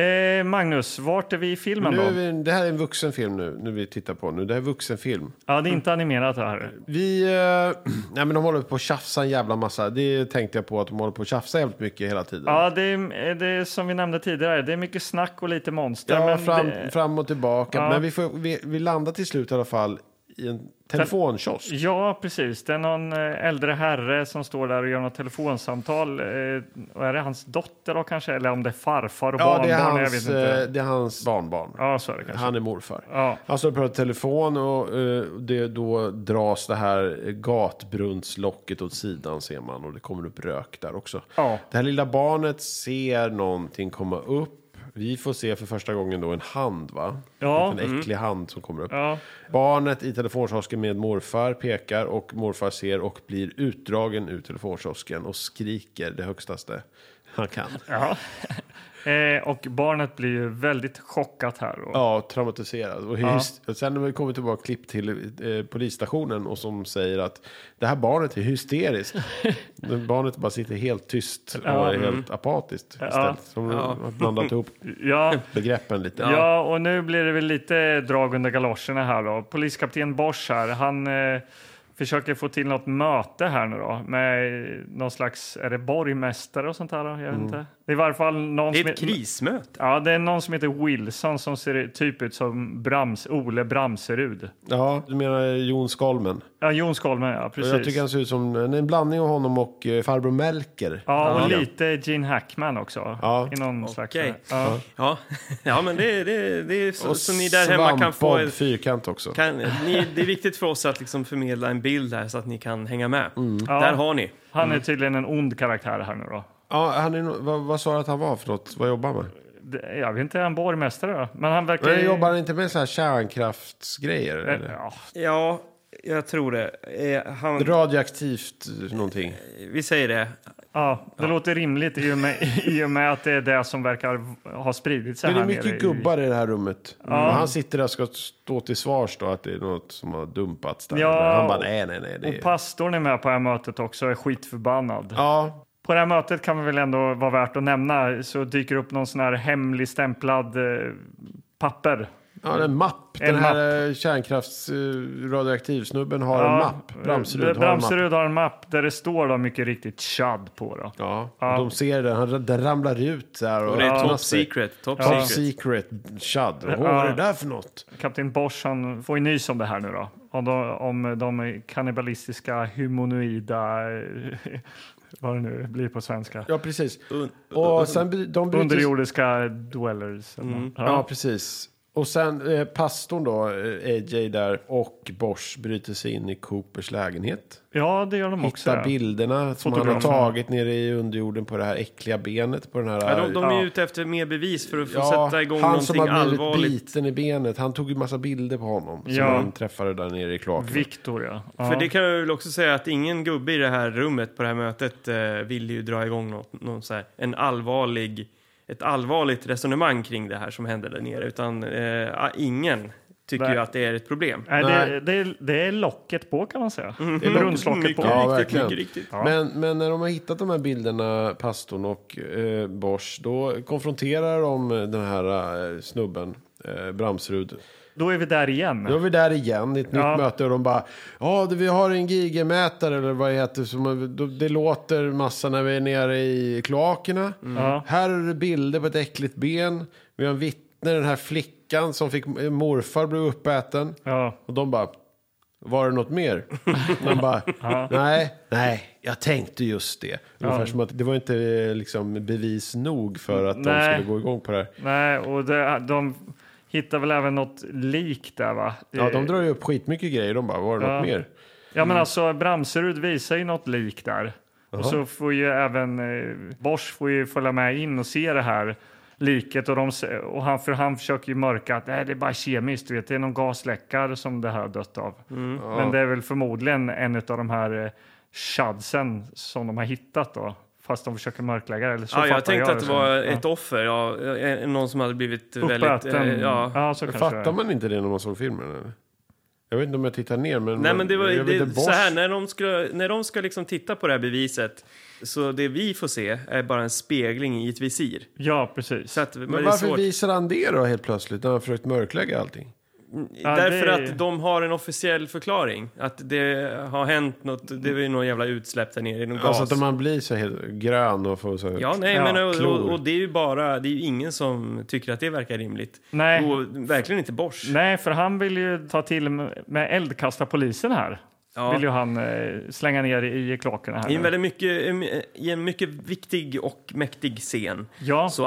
Eh, Magnus, vart är vi i filmen Nu då? är vi, det här är en vuxenfilm nu, nu vi tittar på nu. Det här är vuxenfilm. Ja, det är inte animerat det här. Vi, eh, nej men de håller på att tjafsa en jävla massa. Det tänkte jag på att de håller på att tjafsa jävligt mycket hela tiden. Ja, det är, det är som vi nämnde tidigare. Det är mycket snack och lite monster. Ja, men fram, det, fram och tillbaka. Ja. Men vi, får, vi, vi landar till slut i alla fall i en telefonkiosk. Ja, precis. Det är någon eh, äldre herre som står där och gör något telefonsamtal. Eh, och är det hans dotter då kanske? Eller om det är farfar och Ja, barnbarn? det är, jag vet hans, inte. eh, det är hans barnbarn. Ja, så är det kanske. Han är morfar. Ja. Han står och pratar i telefon och eh, det, då dras det här gatbrunnslocket åt sidan ser man och det kommer upp rök där också. Ja. Det här lilla barnet ser någonting komma upp. Vi får se för första gången då en hand va? Ja. mm. En äcklig hand som kommer upp. Ja. Barnet i telefonkiosken med morfar pekar och morfar ser och blir utdragen ur telefonkiosken och skriker det högstaste han kan. Eh, och barnet blir ju väldigt chockat här. Och, Ja, traumatiserad. Och hyst- Sen när vi kommer tillbaka klipp till eh, polisstationen och som säger att det här barnet är hysteriskt. Men barnet bara sitter helt tyst och Ja. är Mm. helt apatiskt istället. Som har blandat ihop ja. begreppen lite. Ja, och nu blir det väl lite drag under galoscherna här då. Poliskapten Bosch här, han eh, försöker få till något möte här nu då med eh, någon slags, är det borgmästare och sånt här då? Jag vet inte. Det är i varje fall någon Det som är ett krismöte. Ja, det är någon som heter Wilson som ser typ ut som Brams, Ole Bramserud. ja, du menar eh, Jon Skolmen. Ja, Jon Skolmen, ja precis. Jag tycker han ser ut som en, en blandning av honom och eh, farbror Melker. Ja, och lite Gene Hackman också. Ja. I någon slags... Okej. Ja. Ja, ja men det, det, det är så, Och så ni där hemma kan få... svampbob fyrkant också. Kan, ni, det är viktigt för oss att liksom förmedla en bild här så att ni kan hänga med. Där har ni. Han är tydligen en ond karaktär här nu då. Ja, han är, nog- vad, vad sa du att han var för något? Vad jobbar han med? Det- Jag vet inte, är han borgmästare då? Men han verkar... Eh, Men jobbar han inte med så här kärnkraftsgrejer? Eh, Eller? Ja, Ja, jag tror det. Eh, han, Radioaktivt eh, någonting. vi säger det. Ja, det låter rimligt i och, med, i och med att det är det som verkar v- ha spridit sig Men det är här nere. mycket i- gubbar i det här rummet. Och han sitter där och ska stå till svars då att det är något som har dumpats där. Ja, Men han bara nej, nej, nej. Det Och är... pastorn är med på det här mötet också och är skitförbannad. Ja, På det här mötet kan vi väl ändå vara värt att nämna så dyker upp någon sån här hemlig stämplad eh, papper. ja, det är en mapp. En Den här eh, kärnkraftsradioaktivsnubben har en mapp. Bramserud har en mapp. Bramserud har en mapp där det står då mycket riktigt chad på. Då. Ja, och de ser den. Han den ramlar ut där. Och, Och det är öppnar top sig. secret. Top Top secret. secret, chad. Åh, vad är det där för något? Kapten Bosch han får ju nys om det här nu då. Om de, om de kannibalistiska humanoida... eh, Vad det nu blir på svenska. Ja, precis. Un- Och sen bry- de bryter Underjordiska dwellers. Mm. eller nåt. Ja, precis. Och sen eh, pastorn då, eh, AJ där, och Bosch bryter sig in i Coopers lägenhet. Ja, det gör de också. Hittar ja. bilderna som han har Fotografen. tagit nere i underjorden på det här äckliga benet. På den här, Ja, de, de är Ja. ute efter mer bevis för att få Ja, sätta igång han som någonting har blivit allvarligt. biten i benet. Han tog ju massa bilder på honom. Som Ja. han träffade där nere i kloaken. Victoria. Ja. För det kan jag väl också säga att ingen gubbe i det här rummet på det här mötet eh, ville ju dra igång något, någon så här, en allvarlig, ett allvarligt resonemang kring det här som hände där nere. Utan eh, ah, ingen tycker Nej. ju att det är ett problem. Nej, Nej. det, det, är- det är locket på kan man säga. Mm. Det är locket- brunnslocket på. mycket Ja, riktigt, verkligen. mycket riktigt. Men, men när de har hittat de här bilderna, pastorn och eh, Bosch, då konfronterar de den här eh, snubben, eh, Bramsrud. Då är vi där igen. Då är vi där igen i ett Ja. nytt möte och de bara ja du, vi har en gigamätare eller vad heter det som då- det låter massa när vi är nere i kloakerna. Mm. Ja. Här har du bilder på ett äckligt ben. Vi har en vittne, den här flickan som fick morfar blev uppäten. Ja. Och de bara var det något mer? De bara, nej, nej, jag tänkte just det. Ungefär som att det var inte eh, liksom bevis nog för att Nej. de skulle gå igång på det här. Nej, och det, de hittar väl även något lik där va? Ja, de drar ju upp skitmycket grejer. De bara, var det något Ja. mer? Ja, men alltså Bramserud visar ju något lik där. Och så får ju även eh, Bosch får ju följa med in och se det här liket. Och, de, se- och han, för han försöker ju mörka att "Nej, det är bara kemiskt, du vet, det är någon gasläckare som det här har dött av. Men det är väl förmodligen en av de här eh, chadsen som de har hittat då. Fast de försöker mörklägga det. Eller så Ja, jag fattar tänkte att det som. var liksom. Ja. ett offer, ja, eh, någon som hade blivit väldigt... Uppäten. eh, ja. ja. så kanske det är. Fattar man inte det när man såg filmen? Eller? Jag vet inte om jag tittar ner, men... Nej, men det var jag vet det, inte, så Bosch- här, när de, skulle, när de ska liksom titta på det här beviset så det vi får se är bara en spegling i ett visir. Ja, precis. Så att, men Men det är varför svårt. visar han det då helt plötsligt när han försökt mörklägga allting? Ja, det Därför är- att de har en officiell förklaring. Att det har hänt något, det är ju någon jävla utsläpp där nere, någon Alltså gas. att man blir så helt grön och får så... Ja, nej, Ja, men och, och, klor. och det är ju bara, det är ju ingen som tycker att det verkar rimligt. Nej. Och verkligen inte Bosch. Nej, för han vill ju ta till med eldkastarpolisen här. Ja. Vill ju han eh, slänga ner i kloakerna här. I en, nu. väldigt mycket, I en mycket viktig och mäktig scen Ja. så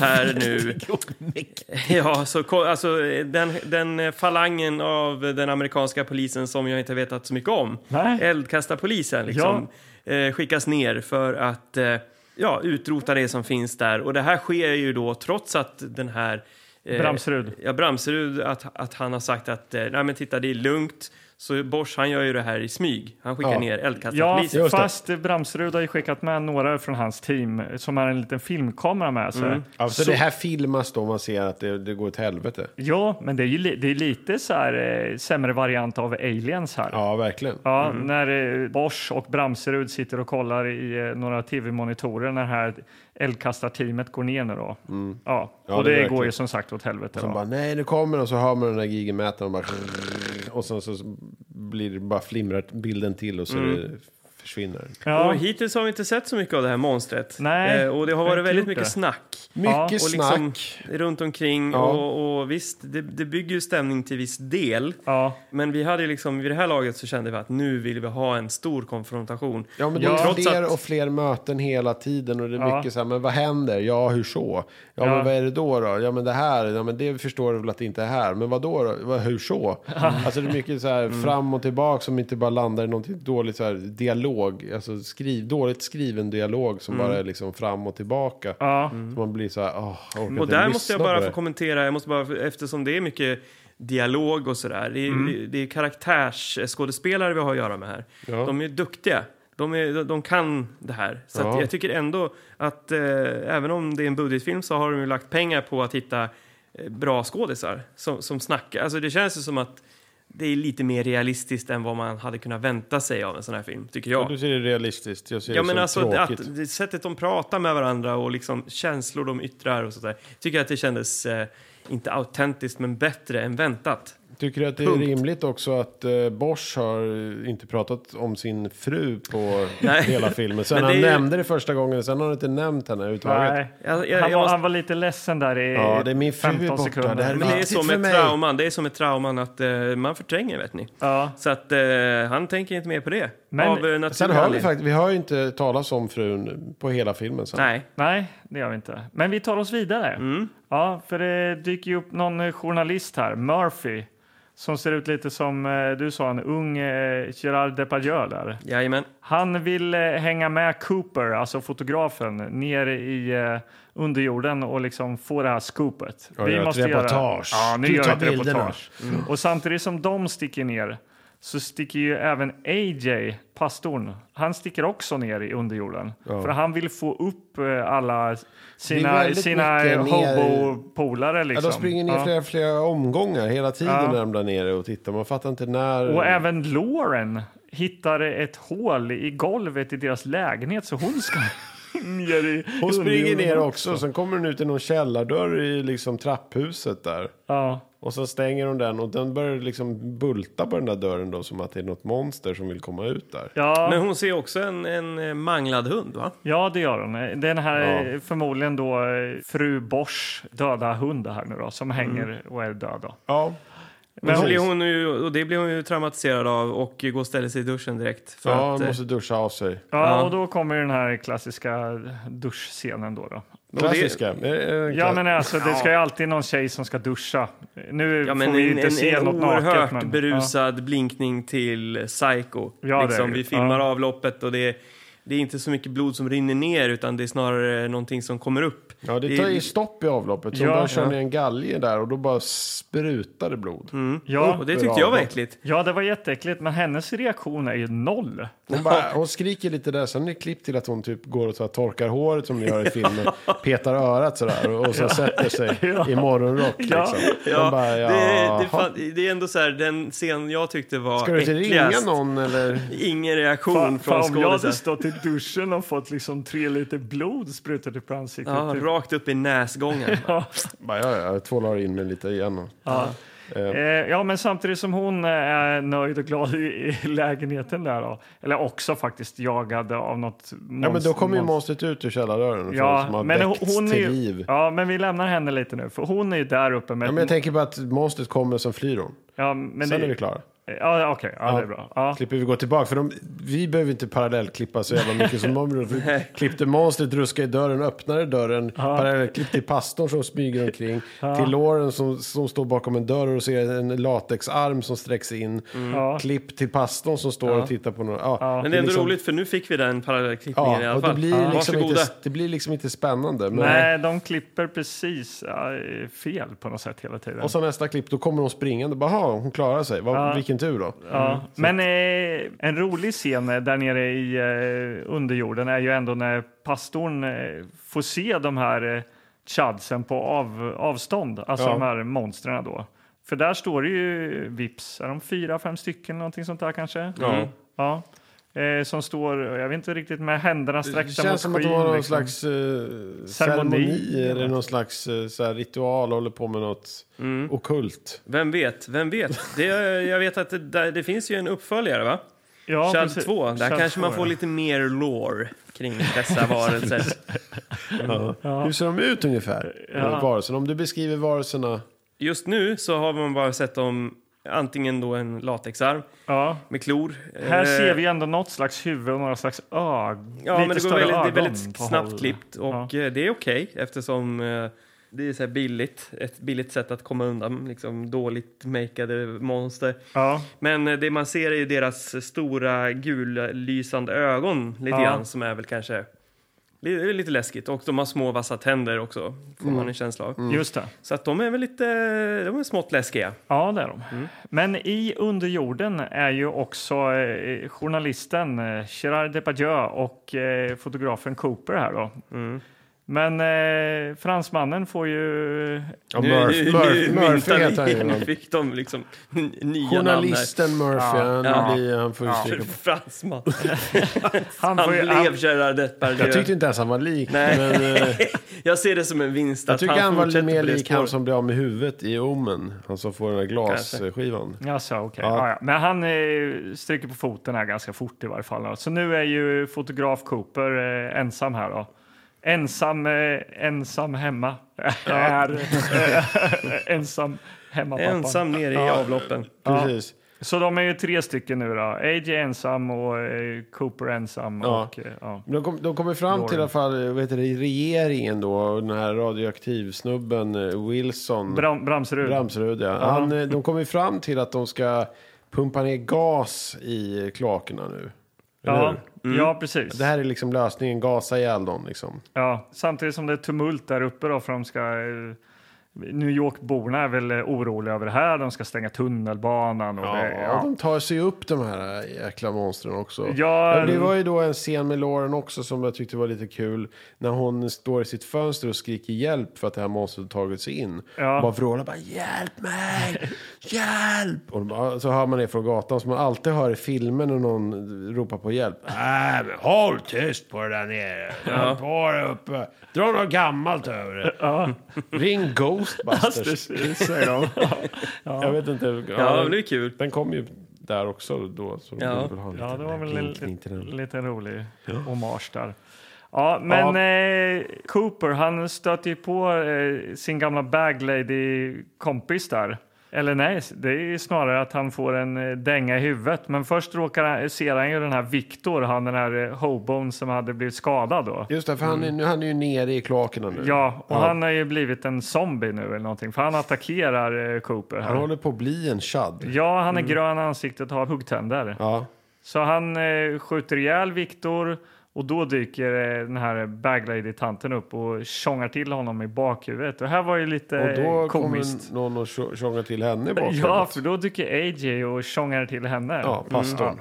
här nu... ja, så, ko- alltså, eh, den, den eh, falangen av den amerikanska polisen som jag inte vetat så mycket om, Nej. eldkastarpolisen, liksom, eh, skickas ner för att eh, ja, utrota det som finns där. Och det här sker ju då trots att den här... eh, Bramserud. Ja, Bramserud, att, att han har sagt att eh, nej men titta det är lugnt. Så Bosch han gör ju det här i smyg. Han skickar Ja. ner Ja, eldkastarpolisen. Just det. fast Bramserud har ju skickat med några från hans team eh, som har en liten filmkamera med sig. Mm. Ja, så, Alltså, det här filmas då man ser att det, det går åt helvete. Ja, men det är ju li- det är lite så här, eh, sämre variant av aliens här. Ja, verkligen. Ja, Mm. när eh, Bosch och Bramserud sitter och kollar i eh, några tv-monitorer när det här eldkastarteamet går ner nu då. Mm. Ja, Ja, och det det, är går ju verkligen. som sagt åt helvete. Som då. bara, nej nu kommer den, och så hör man den där gigamätaren och bara... Och sen så blir det bara flimrar bilden till och så Mm. det försvinner. ja. Och hittills har vi inte sett så mycket av det här monstret. Nej, Eh, och det har jag har varit inte väldigt gjort mycket det. snack. Ja, Mycket och Och snack. liksom runt omkring. Ja. Och, och visst, det, det bygger ju stämning till viss del. ja. Men vi hade ju liksom, vid det här laget så kände vi att nu vill vi ha en stor konfrontation. Ja, men det Ja, är trots fler att- och fler möten hela tiden och det är Ja. mycket så här, men vad händer? Ja, hur så? Ja, Ja. men vad är det då då? Ja, men det här, ja, men det förstår du väl att det inte är här, men vad då? då? Vad, hur så? Alltså det är mycket så här fram och tillbaka som inte bara landar i någonting dåligt så här dialog, alltså skriv, dåligt skriven dialog som bara är liksom fram och tillbaka. Ja. Så man blir så här, åh, jag orkar Och inte där måste lyssna jag på bara det. få kommentera, jag måste bara, eftersom det är mycket dialog och sådär. Det är, Mm. det, det är karaktärsskådespelare vi har att göra med här. Ja. De är duktiga. De, är, de- de kan det här. Så att Ja. jag tycker ändå att eh, även om det är en budgetfilm så har de ju lagt pengar på att hitta eh, bra skådisar som, som snackar. Alltså det känns ju som att det är lite mer realistiskt än vad man hade kunnat vänta sig av en sån här film, tycker jag. Ja, Du ser det realistiskt, jag ser Ja, det men som alltså tråkigt. att, det sättet de pratar med varandra och liksom känslor de yttrar och sådär. Tycker jag att det kändes, eh, inte autentiskt, men bättre än väntat. Tycker du att det är Punkt. rimligt också att eh, Bosch har eh, inte pratat om sin fru på Nej. hela filmen? Sen Men det han är ju- nämnde det första gången, sen har han inte nämnt henne överhuvudtaget. Nej. Jag- jag- han, jag var, måste- han var lite ledsen där i Ja, det är min fru 15 borta. sekunder. Det här är Men det är Viktigt som för ett mig. trauman, det är som ett trauman att eh, man förtränger, vet ni. Ja. Så att eh, han tänker inte mer på det. Men- av eh, Sen hör vi naturlig faktiskt, vi hör ju inte talas om frun på hela filmen sen. Nej. Nej, det gör vi inte. Men vi tar oss vidare. Mm. Ja, för det dyker ju upp någon eh, journalist här, Murphy, som ser ut lite som eh, du sa, en ung eh, Gerard Depardieu där. Jajamän. Han vill eh, hänga med Cooper, alltså fotografen, ner i eh, underjorden och liksom få det här scoopet. Ja, gör ett reportage. Mm. Ja, nu Du gör tar vi ett bilderna. reportage. Och samtidigt som de sticker ner så sticker ju även AJ, pastorn, han sticker också ner i underjorden. För han vill få upp eh, alla sina, väldigt sina mycket ner- hobo-polare. Ja, Liksom. de springer ner Ja. flera, flera omgångar hela tiden Ja. när de där nere och tittar. Man fattar inte när... Eh. Och även Lauren hittar ett hål i golvet i deras lägenhet så hon ska ner i Hon springer underjorden ner också, sen kommer hon ut i någon källardörr i liksom trapphuset där. Ja. Och sen stänger hon den och den börjar liksom bulta på den där dörren då som att det är något monster som vill komma ut där. Ja, Men hon ser också en, en eh, manglad hund, va? ja, det gör hon. Den här Ja. eh, förmodligen då eh, fru Bors döda hund här nu då, som Mm. hänger och är död. Då. Ja. Men hon- hon blir hon ju, och det blir hon ju traumatiserad av och går och ställer sig i duschen direkt. För Ja, att, man eh, måste duscha av sig. Ja, Ja. och då kommer den här klassiska duschscenen då. då. Klassiska. Är det- är det en Ja, klass- men alltså det ska ju alltid någon tjej som ska duscha. Nu Ja, får men vi ju en, inte se en, en något oerhört naket. Men, berusad blinkning till Psycho. Ja, det är liksom, det. vi filmar Ja. avloppet och det är, det är inte så mycket blod som rinner ner utan det är snarare någonting som kommer upp. Ja, det tar ju stopp i avloppet. Så Ja, hon bara kör ja. ner en galge där och då bara sprutar det blod. ja. och Ja. Oh, det tyckte jag var äckligt. ja, det var jätteäckligt, men hennes reaktion är ju noll. Hon, bara, hon skriker lite där, sen är det klipp till att hon typ går och så här torkar håret som ni gör i filmen. Petar örat sådär och, och så sätter sig i morgonrock. Liksom. Ja, Man bara, ja, det, det, ha. fan, det är ändå så här, den scen jag tyckte var Ska du inte ringa äckligast. någon eller? Ingen reaktion Fan, från fan, om jag hade skådisen. stått i duschen och fått liksom tre liter blod sprutat upp i ansiktet. Ja, typ. rakt upp i näsgången. Bara, ja, ja, jag tvålar in mig lite igen. och- Ja. Eh, ja, men samtidigt som hon eh, är nöjd och glad i, i lägenheten där då. Eller också faktiskt jagad av något Ja, men då monst- kommer ju monst- monstret ut ur källardörren. för de som Ja, har men hon, väckts hon är till ju, liv. Ja, ja, men vi lämnar henne lite nu, för hon är ju där uppe med... men jag tänker på att monstret kommer som flyr hon. ja, men Sen det- är vi klara. Ja, okej, ja, det är bra. Ja. Klipper vi gå tillbaka. För de, vi behöver inte parallellklippa så jävla mycket som de gjorde. För vi klippte monstret, ruskade i dörren, öppnade dörren. Parallellklipp till pastorn som smyger omkring. Till Lauren som, som står bakom en dörr och ser en latexarm som sträcks in. Ja. Klipp till pastorn som står och tittar på någon. Ja, Men det är ändå liksom- roligt för nu fick vi den parallellklippningen i Ja, alla och det fall. blir, liksom Varsågoda. inte, det blir liksom inte spännande. Men, Nej, de klipper precis ja, fel på något sätt hela tiden. Och så nästa klipp, då kommer hon springande. Bara, "Jaha, hon klarar sig. Vad, Vilken tur då. Mm, Ja, men eh, en rolig scen där nere i eh, underjorden är ju ändå när pastorn eh, får se de här eh, chadsen på av, avstånd, alltså Ja. de här monstren då. För där står det ju vips, är de fyra, fem stycken någonting sånt där kanske? Mm. Ja. ja. Eh, som står, jag vet inte riktigt, med händerna Det sträckta mot känns som att det skyn, var någon liksom. slags eh, ceremoni eller eller någon slags eh, så här, ritual, håller på med något Mm. okult. Vem vet, vem vet. Det, jag vet att det, där- det finns ju en uppföljare va? Ja, Chad precis. 2, där Chad kanske man 2, får ja. lite mer lore kring dessa varelser. Hur ser de ut ungefär? Mm. Ja. eh, Varelserna. Om du beskriver varelserna. Just nu så har man bara sett dem antingen då en latexarm Ja. med klor. Här eh, ser vi ändå något slags huvud och några slags ögon. Ja, men det, går större väldigt, det är ögon väldigt på snabbt håll. klippt och Ja. eh, det är okej eftersom eh, det är så här billigt, ett billigt sätt att komma undan liksom dåligt makeade monster. Ja. Men eh, det man ser är ju deras stora gullysande ögon lite Ja. grann som är väl kanske li- lite läskigt och de har små vassa tänder också får Mm. man en känsla av. Just det. Så att de är väl lite, de är smått läskiga. Ja, det är de. Men i Underjorden är ju också eh, journalisten eh, Gerard Depardieu och eh, fotografen Cooper här då. Men eh, fransmannen får ju... Ja, Murph- Murph- Murphy myntar vi- heter han ju. nu fick de liksom n- nya Journalisten Murphy, han, Ja. blir- han får ju namn. stryka här. på. Fransman. Han Han får ju, blev Gerard Jag Depardieu. tyckte inte ens han var lik. Nej. Men, eh, Jag ser det som en vinst jag att tycker han var fortsätter mer på det lik han spåret. som blir av med huvudet i Omen. Han som får den där glasskivan. Jaså, okej. Ja. Ja. Ja. Men han eh, stryker på foten här ganska fort i varje fall. Så nu är ju fotograf Cooper eh, ensam här då. Ensam, eh, ensam hemma. är, eh, ensam hemma pappa. Ensam nere i avloppen. Precis. Så de är ju tre stycken nu då. AJ ensam och eh, Cooper ensam. Ja. Och, eh, ja. Men De, kom, de kommer fram till i alla fall vad heter det, regeringen då, och den här radioaktivsnubben eh, Wilson. Bram, Bramserud. Bramserud, ja. Han, eh, de kommer fram till att de ska pumpa ner gas i kloakerna nu. Eller ja. hur? ja, precis. Det här är liksom lösningen, gasa ihjäl dem liksom. Ja. Samtidigt som det är tumult där uppe då för de ska... Eh, New York-borna är väl eh, oroliga över det här. De ska stänga tunnelbanan. Och Ja, det, ja. de tar sig upp de här jäkla monstren också. Ja, men det var ju då en scen med Lauren också som jag tyckte var lite kul. När hon står i sitt fönster och skriker hjälp för att det här monstret tagit sig in. Ja. Och bara vrålar bara hjälp mig, hjälp! Och de bara, så hör man det från gatan som man alltid hör i filmer när någon ropar på hjälp. Nej men håll tyst på det där nere. Håll på där uppe. Dra något gammalt över det. Ring Ghostbusters. Säger de. Jag vet inte. Ja, men det är kul. Den kom ju där också då. Så de Ja. borde väl ha en Ja, liten det var väl en blinkning till den. liten, liten rolig hommage där. Ja, men Eh, Cooper han stöter ju på eh, sin gamla baglady-kompis där. Eller nej, det är ju snarare att han får en eh, dänga i huvudet. Men först råkar han, ser han ju den här Viktor, han den här eh, hobon som hade blivit skadad då. Just det, för han, är, nu, han är ju nere i kloakerna nu. Mm. Ja, och han har ju blivit en zombie nu eller någonting, för han attackerar eh, Cooper Han här. håller på att bli en chad. Ja, han är grön i ansiktet och har huggtänder. Ja. Så han eh, skjuter ihjäl Viktor och då dyker eh, den här baglady-tanten upp och tjongar till honom i bakhuvudet. Och här var ju lite Och då eh, komiskt. kommer någon och tjo- tjongar till henne i bakgrunden. Ja, för Mm. då dyker AJ och tjongar till henne. ja pastorn.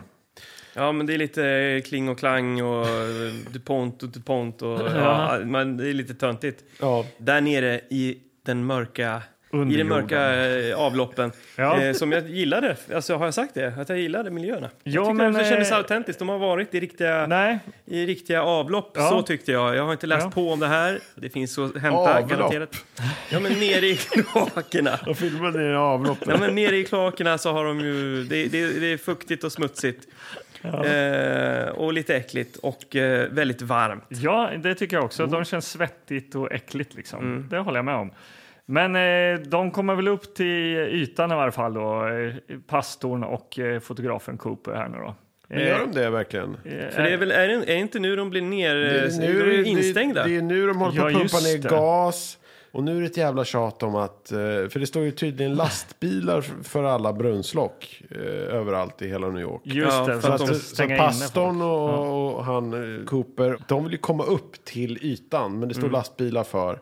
Ja, men det är lite eh, kling och klang och eh, DuPont och DuPont och ja, men det är lite töntigt. Ja. Där nere i den mörka i de Underjorden. mörka eh, avloppen. Ja. Eh, som jag gillade. Alltså, har jag sagt det? Att jag gillade miljöerna. Ja, jag tyckte men, det kändes eh, autentiskt. De har varit i riktiga, Nej, i riktiga avlopp. Ja. Så tyckte jag. Jag har inte läst Ja. på om det här. Det finns så att hämta Avlopp. garanterat. Ja, men nere i kloakerna. De filmade ner avloppet. Ja, men nere i kloakerna så har de ju... Det, det, det är fuktigt och smutsigt. Eh, och lite äckligt och eh, väldigt varmt. ja, det tycker jag Mm. också. De känns svettigt och äckligt. Liksom. Det håller jag med om. Men eh, de kommer väl upp till ytan i varje fall, då, eh, pastorn och eh, fotografen Cooper här nu då. Men Eh, gör de det verkligen? För det är väl... Är det, är det inte nu de blir ner... de är ju instängda. Det, det är nu de håller på att Ja, pumpa just ner det. gas. Och nu är det ett jävla tjat om att, eh, för det står ju tydligen lastbilar f- för alla brunnslock eh, överallt i hela New York. Just Ja, det, för för Så att de att, ska så stänga att inne pastorn och, och han eh, Cooper, de vill ju komma upp till ytan, men det Mm. står lastbilar för.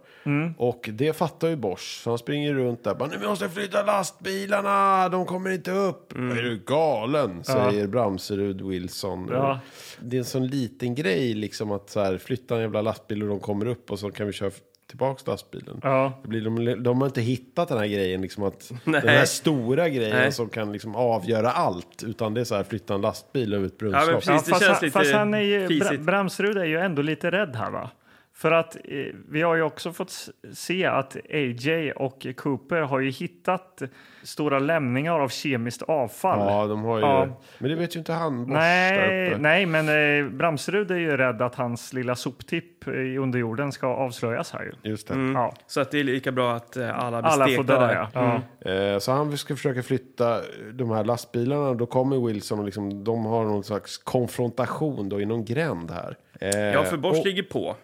Och det fattar ju Bosch, så han springer runt där. Bara, nu måste flytta lastbilarna, de kommer inte upp. Mm. Är du galen? Säger Bramserud Wilson. Ja. Det är en sån liten grej, liksom att så här, flytta en jävla lastbil och de kommer upp och så kan vi köra tillbaks lastbilen. Ja. Det blir, de, de har inte hittat den här grejen, liksom att Nej. den här stora grejen Nej. som kan liksom avgöra allt. Utan det är så här, flytta en lastbil över ett Ja, men brunnslock. precis. det fast, känns han, lite fast han är ju, Bra, fisigt. Bramsrud är ju ändå lite rädd här va? För att eh, vi har ju också fått s- se att AJ och Cooper har ju hittat stora lämningar av kemiskt avfall. Ja, de har ju... Ja. Men det vet ju inte han, Bosch, där Nej, uppe. nej, men eh, Bramsrud är ju rädd att hans lilla soptipp i underjorden ska avslöjas här ju. Just det. Ja, Så att det är lika bra att eh, alla blir alla får Mm. stekta dö där. Mm. ja. Ja. Eh, Så han ska försöka flytta de här lastbilarna. Då kommer Wilson och liksom, de har någon slags konfrontation då i någon gränd här. Eh, Ja, för Bosch och- ligger på.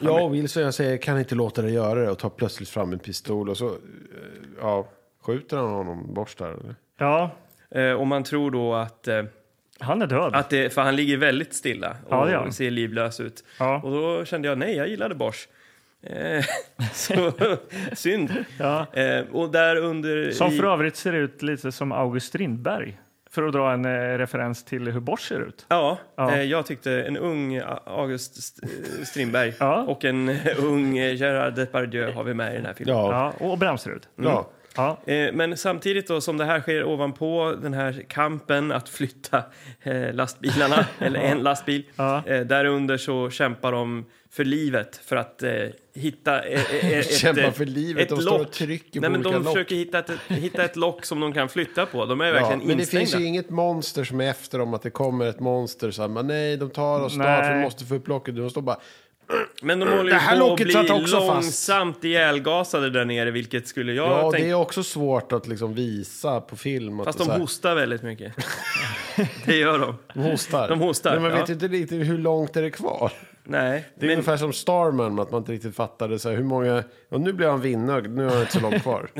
Ja, och Wilson jag säger kan inte låta dig göra det och tar plötsligt fram en pistol och så eh, ja, skjuter han honom bort där. eller? ja, Eh, och man tror då att... Eh, han är död. att det, för han ligger väldigt stilla och Ja, det gör han. ser livlös ut. Ja. Och då kände jag, nej, jag gillade Bosch. Eh, så synd. Ja. Eh, och där under... Som i- för övrigt ser ut lite som August Strindberg. För att dra en eh, referens till hur Bosch ser ut. Ja, Ja. Eh, jag tyckte en ung A- August St- eh, Strindberg Ja. och en ung eh, Gerard Depardieu har vi med i den här filmen. Ja, Ja, och Bramsrud. ja. Ja. Eh, Men samtidigt då som det här sker ovanpå den här kampen att flytta eh, lastbilarna, eller en lastbil, Ja. eh, där under så kämpar de för livet för att eh, hitta eh, eh, eh, ett, Kämpar eh, för livet, ett de står och lock. trycker på Nej, men De olika lock. försöker hitta ett, hitta ett lock som de kan flytta på. De är Ja, verkligen men det instängda. finns ju inget monster som är efter dem, att det kommer ett monster så här, men nej, de tar oss Nej. snart, vi måste få upp locket. De står bara, men de håller Det här ju på att locket satt bli också fast. långsamt ihjälgasade där nere, vilket skulle jag ja, det är tänka. också svårt att liksom visa på film. Att Fast så de här, hostar väldigt mycket. det gör de. de hostar. De hostar, Men man ja. vet inte riktigt hur långt är det kvar. Nej, Det är men- ungefär som Starman, att man inte riktigt fattade så här, hur många, och nu blir han vinnögd, nu har han inte så långt kvar.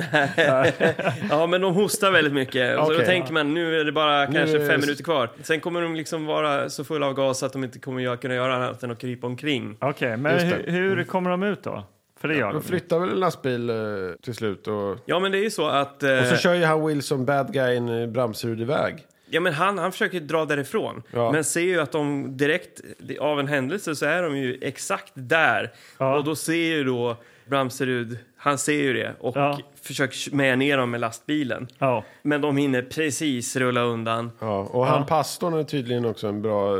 Ja, men de hostar väldigt mycket. Och så då Okej. tänker man nu är det bara kanske är det- fem minuter kvar. Sen kommer de liksom vara så fulla av gas att de inte kommer göra- kunna göra annat än att krypa omkring. Okej, men Just det. Mm. hur, hur kommer de ut då? För det gör de. De flyttar väl en lastbil eh, till slut och, och Ja, men det är ju så att... Eh, så kör ju han Wilson, bad guyen, eh, Bramserud iväg. ja, men han, han försöker dra därifrån, Ja. men ser ju att de direkt av en händelse så är de ju exakt där. Ja. Och då ser ju då Bramserud, han ser ju det och Ja. försöker med ner dem med lastbilen. Ja. Men de hinner precis rulla undan. Ja, och han pastorn är tydligen också en bra,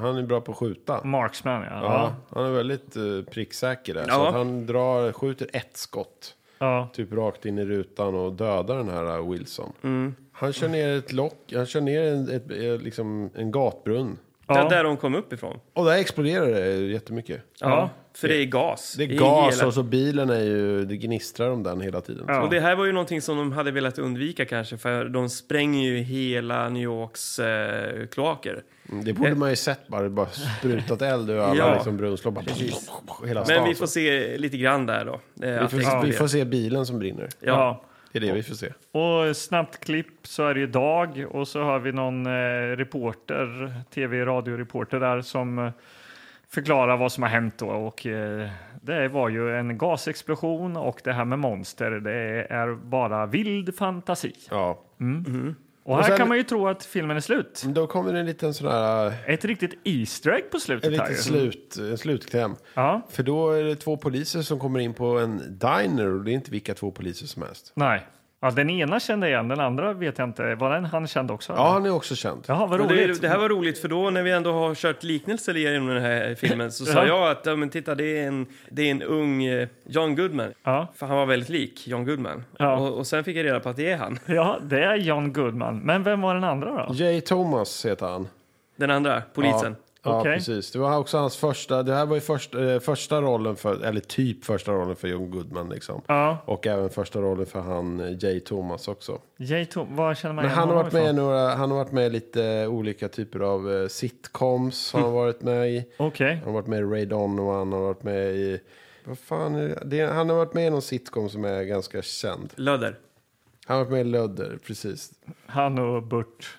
han är bra på att skjuta. Marksman, ja. Ja, ja. han är väldigt eh, pricksäker där. Så Ja. att han drar, skjuter ett skott. ja. Typ rakt in i rutan och dödar den här eh, Wilson. Mm. Han kör ner ett lock, han kör ner en, ett, eh, liksom en gatbrunn. Ja. Där, där de kom upp ifrån. Och där exploderar det jättemycket. Ja. För det är gas. Det är i gas hela- och så bilen är ju, det gnistrar om den hela tiden. Ja. Och det här var ju någonting som de hade velat undvika kanske för de spränger ju hela New Yorks eh, kloaker. Mm, Det borde man ju sett bara, det bara sprutat eld ur alla Eh. Ja. liksom brunnslopp. Bara, Precis. Hela stan. Men vi får se lite grann där då. Eh, vi, får, att det vi exploderar. får se bilen som brinner. Ja. Det är det vi får se. Och snabbt klipp så är det ju dag och så har vi någon eh, reporter, tv radioreporter där som eh, förklarar vad som har hänt då. Och eh, det var ju en gasexplosion och det här med monster, det är bara vild fantasi. Ja. Och här sen- kan man ju tro att filmen är slut. Då kommer det en liten sån här... eh, Ett riktigt Easter egg på En slutet här liten ju. slut, en slutkläm. Ja, För då är det två poliser som kommer in på en diner och det är inte vilka två poliser som helst. nej. Ja, den ena kände jag igen, den andra vet jag inte. Var den han kände också? Ja, han är också känd. Jaha, vad Och det, roligt. det här var roligt för då när vi ändå har kört liknelser igenom den här filmen så Ja. sa jag att ja, men titta det är en, det är en ung eh, John Goodman. Ja. För han var väldigt lik John Goodman. Ja. Och, och sen fick jag reda på att det är han. Ja, det är John Goodman. Men vem var den andra då? Jay Thomas heter han. Den andra, polisen. Ja, Okej. precis. Det var också hans första, det här var ju första, eh, första rollen för, eller typ första rollen för John Goodman liksom. Ja. Och även första rollen för han eh, Jay Thomas också. Jay Tom, vad känner man Men igen han har, honom varit med i ifrån? några, han har varit med i lite olika typer av eh, sitcoms. Har han Mm. varit med i. Okej. Han har varit med i Ray Donovan, han har varit med i... Vad fan är det? det? är- Han har varit med i någon sitcom som är ganska känd. Lödder. Han har varit med i Lödder, precis. Han och Burt.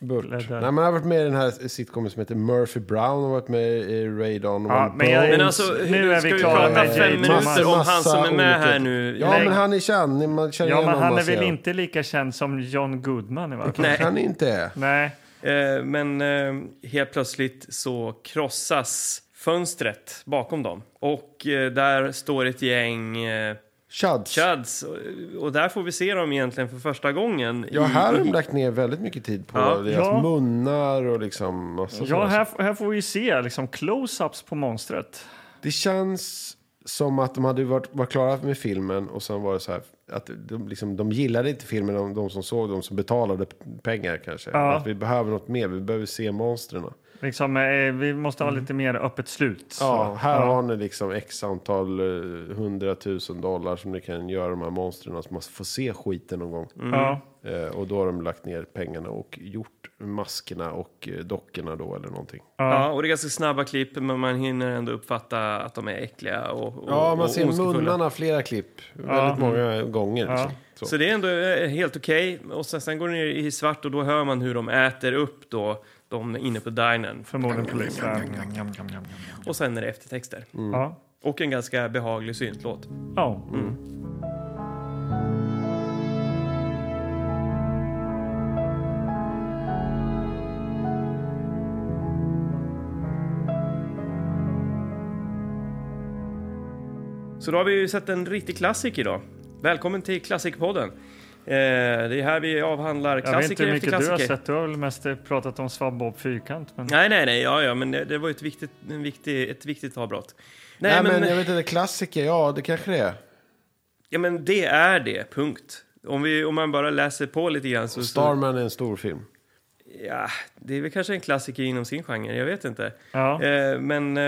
Burt. Nej, Lödder. men han har varit med i den här sitcomen som heter Murphy Brown. Han har varit med i Ray Donovan. Ja, men jag- Bones. Men alltså, Nu är ska vi vi klara prata med fem Jay minuter Thomas. om han som är med olika- här nu? Ja, Lägg- men han är känd. Man känner Ja, igen men honom han man är väl ser inte lika känd som John Goodman i varje fall? honom. Han inte är. Nej. Eh, Men eh, helt plötsligt så krossas fönstret bakom dem. Och eh, där står ett gäng eh, Chuds. chuds. Och- Och där får vi se dem egentligen för första gången. Ja, i- här har de lagt ner väldigt mycket tid på Ja. deras Ja. munnar och liksom massa Ja, sådana här, här får vi se liksom close-ups på monstret. Det känns som att de hade varit, var klara med filmen och sen var det så här att de, liksom, de gillade inte filmen, de, de som såg, de som betalade p- pengar kanske. Ja. Att vi behöver något mer, vi behöver se monstren. Liksom, eh, vi måste ha lite mer öppet slut. Mm. Ja, här har ni liksom x antal eh, hundratusen dollar som ni kan göra de här monstren så man får se skiten någon gång. Ja. Eh, och då har de lagt ner pengarna och gjort maskerna och eh, dockorna då eller någonting. Ja, och det är ganska snabba klipp, men man hinner ändå uppfatta att de är äckliga och, och Ja, man och ser ondskefulla. munnarna flera klipp, väldigt många gånger. Liksom. Så. Så det är ändå eh, helt okej. Och sen, sen går det ner i svart och då hör man hur de äter upp då de inne på dinern. Förmodligen Mm. polisen. Och sen är det eftertexter. Ja. Och en ganska behaglig syntlåt. Ja. Mm. Så då har vi ju sett en riktig klassiker idag. Välkommen till Klassikpodden. Eh, det är här vi avhandlar Jag vet inte klassiker hur efter mycket du har klassiker. sett. Du har väl mest eh, pratat om Svabb Bob Fyrkant. Men... Nej, nej, nej, ja, ja, men det, det var ju ett viktigt, en viktig, ett viktigt avbrott. Nej, Nej, men, men jag vet inte, klassiker, ja det kanske det är. ja, men det är det, punkt. Om, vi, om man bara läser på lite grann så... så Starman är en stor film. ja, det är väl kanske en klassiker inom sin genre, jag vet inte. Ja. Eh, men eh,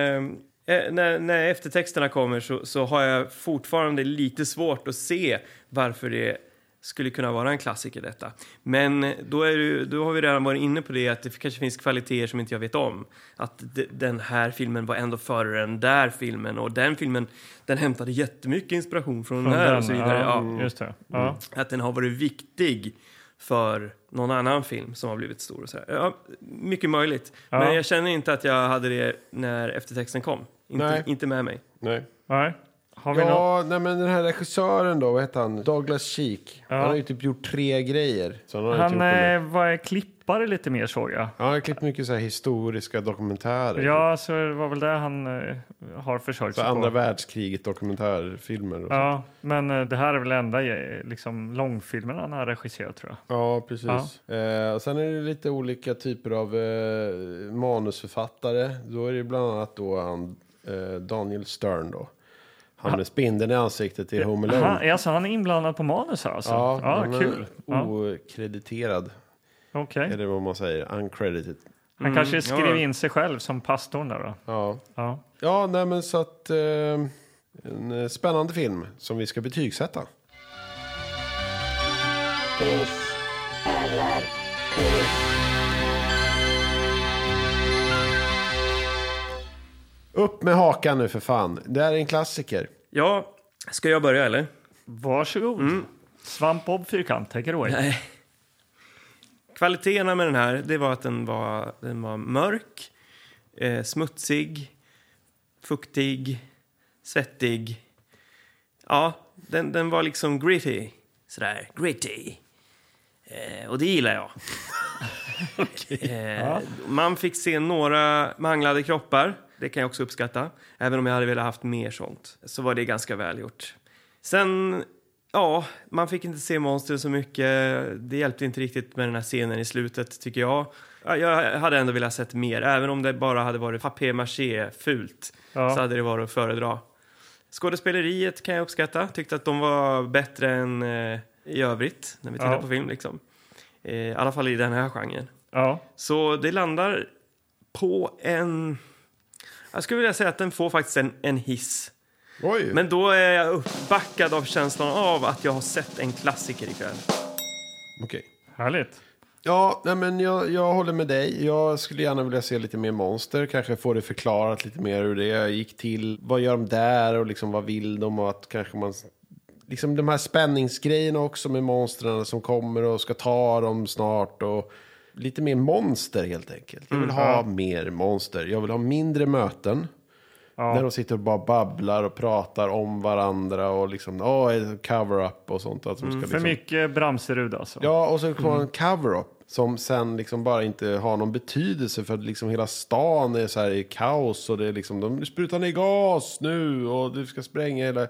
eh, när, när eftertexterna kommer så, så har jag fortfarande lite svårt att se varför det skulle kunna vara en klassiker detta. Men eh, då, är det, ju- då har vi redan varit inne på det att det kanske finns kvaliteter som inte jag vet om. Att de, den här filmen var ändå före den där filmen och den filmen den hämtade jättemycket inspiration från, den här och så vidare. Ja, Mm. Ja, just det. Mm. Ja. Att den har varit viktig för någon annan film som har blivit stor. Och så här. Ja, mycket möjligt. Ja. Men jag känner inte att jag hade det när eftertexten kom. Nej. Inte, inte med mig. Nej. Nej. Har vi något? Ja, nej, men den här regissören då, vad heter han? Douglas Cheek. Han har ju typ gjort tre grejer. Så han har inte Han gjort de eh, var klippare lite mer såg jag. där. han har klippt mycket så här historiska dokumentärer. Ja, så det var väl det han eh, har försökt Så sig andra på. världskriget dokumentärfilmer. Och ja. Ja, men eh, det här är väl enda eh, liksom, långfilmen han har regisserat tror jag. ja, precis. Eh, och sen är det lite olika typer av eh, manusförfattare. Då är det bland annat då han, eh, Daniel Stern då. Han med spindeln i ansiktet i Home Alone. Han, alltså, han är inblandad på manus här alltså? Ja, Ja, Oh. han är kul. Ja, Okrediterad, Okej. eller vad man säger. Uncredited. Han kanske skrev Mm, ja. in sig själv som pastorn där då? Ja. Ja. Ja, nej men så att... Eh, en eh, spännande film som vi ska betygsätta. Upp med hakan nu för fan. Det här är en klassiker. Ja, ska jag börja eller? Varsågod. Svampbob Mm. Fyrkant, take it away. Kvaliteterna med den här det var att den var, den var mörk, eh, smutsig, fuktig, svettig. Ja, den, den var liksom gritty. Sådär, gritty. Eh, och det gillar jag. eh, Man fick se några manglade kroppar. Det kan jag också uppskatta. Även om jag hade velat haft mer sånt. Så var det ganska välgjort. Sen, ja, man fick inte se monstren så mycket. Det hjälpte inte riktigt med den här scenen i slutet, tycker jag. Ja, Jag hade ändå velat sett mer. Även om det bara hade varit papier-maché-fult Ja. så hade det varit att föredra. Skådespeleriet kan jag uppskatta. Tyckte att de var bättre än eh, i övrigt när vi tittar Ja. på film. Liksom. Eh, I alla fall i den här genren. Ja. Så det landar på en... Jag skulle vilja säga att den får faktiskt en, en hiss. Oj! Men då är jag uppbackad av känslan av att jag har sett en klassiker ikväll. Okej. Härligt. Ja, nej, men jag, jag håller med dig. Jag skulle gärna vilja se lite mer monster. Kanske få det förklarat lite mer hur det gick till. Vad gör de där och liksom, vad vill de? Och att kanske man... Liksom de här spänningsgrejerna också med monstren som kommer och ska ta dem snart. Och lite mer monster helt enkelt. Jag vill ha mer monster. Jag vill ha mindre möten. Där de sitter och bara babblar och pratar om varandra och liksom, åh, cover-up och sånt. Att de ska För liksom... mycket Bramserud alltså. Ja, och så kommer en cover-up som sen liksom bara inte har någon betydelse för att liksom hela stan är så här i kaos och det är liksom de sprutar ner gas nu och du ska spränga hela...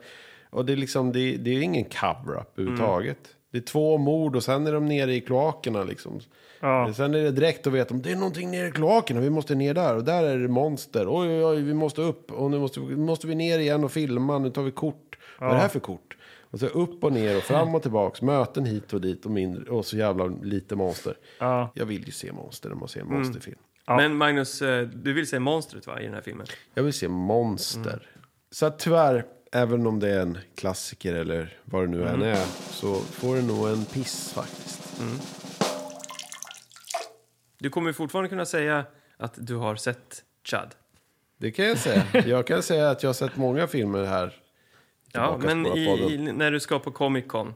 Och det är liksom, det, det är ingen cover-up överhuvudtaget. Det är två mord och sen är de nere i kloakerna liksom. Ja. Sen är det direkt och vet om det är någonting nere i kloakerna, vi måste ner där och där är det monster. Oj, oj, oj, vi måste upp och nu måste, vi- måste vi ner igen och filma, nu tar vi kort. Vad är det här för kort? Och så upp och ner och fram och tillbaks, möten hit och dit och, mindre, och så jävla lite monster. Ja. Mm. Jag vill ju se monster när man ser en monsterfilm. Men Magnus, eh, du vill se monstret va, i den här filmen? Jag vill se monster. Så att tyvärr, även om det är en klassiker eller vad det nu än Mm. är, så får det nog en piss faktiskt. Du kommer ju fortfarande kunna säga att du har sett Chad. Det kan jag säga. Jag kan säga att jag har sett många filmer här Ja, Tillbaka men spåra i, podden. i, när du ska på Comic Con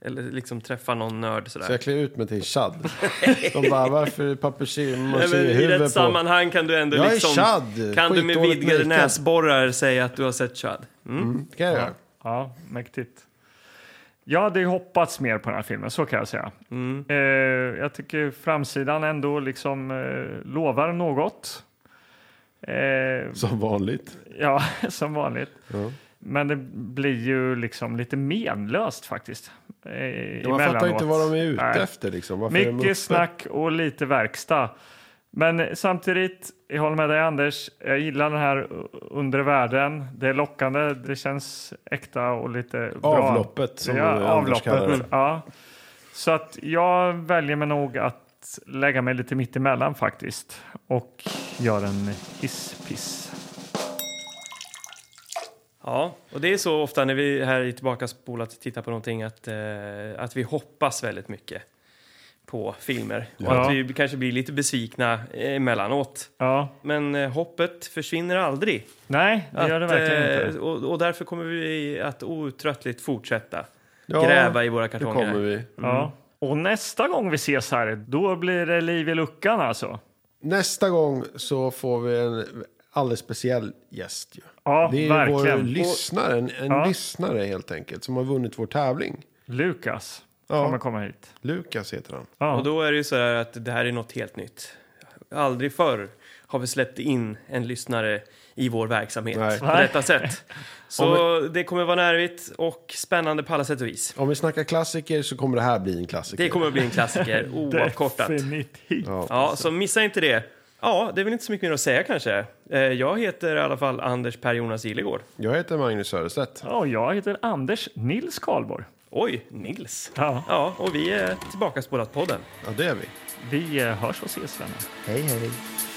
eller liksom träffa någon nörd sådär. Så jag klär ut mig till Chad. De bara, varför är Nej, men I pappershuvud rätt på? sammanhang kan du ändå Jag är liksom... Chad, Kan du med skitdåligt vidgade märke. näsborrar säga att du har sett Chad? Mm. Det kan jag göra. Ja, mäktigt. Jag hade ju hoppats mer på den här filmen, så kan jag säga. Mm. Eh, jag tycker framsidan ändå liksom eh, lovar något. Eh, Som vanligt. ja, som vanligt. Men det blir ju liksom lite menlöst faktiskt. Eh, Man fattar emellanåt. ju inte vad de är ute Nej. efter liksom. Varför är de uppe? Mycket snack och lite verkstad. Men samtidigt, jag håller med dig Anders, jag gillar den här undre världen. Det är lockande, det känns äkta och lite bra. Avloppet, som Anders ja, kallar avloppet. det. Ja. Så att jag väljer mig nog att lägga mig lite mitt emellan faktiskt. Och gör en hisspiss. Ja, och det är så ofta när vi här i Tillbaka spolat tittar på någonting att, eh, att vi hoppas väldigt mycket på filmer. Och Ja. att vi kanske blir lite besvikna eh, emellanåt. Ja, Men eh, hoppet försvinner aldrig. nej, det gör det Att, verkligen eh, inte. Och, och därför kommer vi att outtröttligt fortsätta Ja, gräva i våra Det kartonger. kommer vi. mm. Ja. Och nästa gång vi ses här, då blir det liv i luckan alltså. Nästa gång så får vi en alldeles speciell gäst ju. Ja, det är vår verkligen. lyssnare, en, en lyssnare helt enkelt, som har vunnit vår tävling. Lukas Ja. kommer komma hit. Lukas heter han. Ja. Och då är det ju så här att det här är något helt nytt. Aldrig förr har vi släppt in en lyssnare i vår verksamhet Nej. på detta sätt. Så det kommer vara nervigt och spännande på alla sätt och vis. Om vi snackar klassiker så kommer det här bli en klassiker. Det kommer att bli en klassiker oavkortat. Definitivt. Ja, så missa inte det. Ja, det är väl inte så mycket mer att säga kanske. Eh, Jag heter i alla fall Anders Per Jonas Gillegård. Jag heter Magnus Söderstedt. Ja, och jag heter Anders Nils Karlborg. Oj, Nils. Ja. Ja, och vi är tillbaka spolat podden. Ja, det är vi. Vi eh, hörs och ses, vänner. Hej, hej.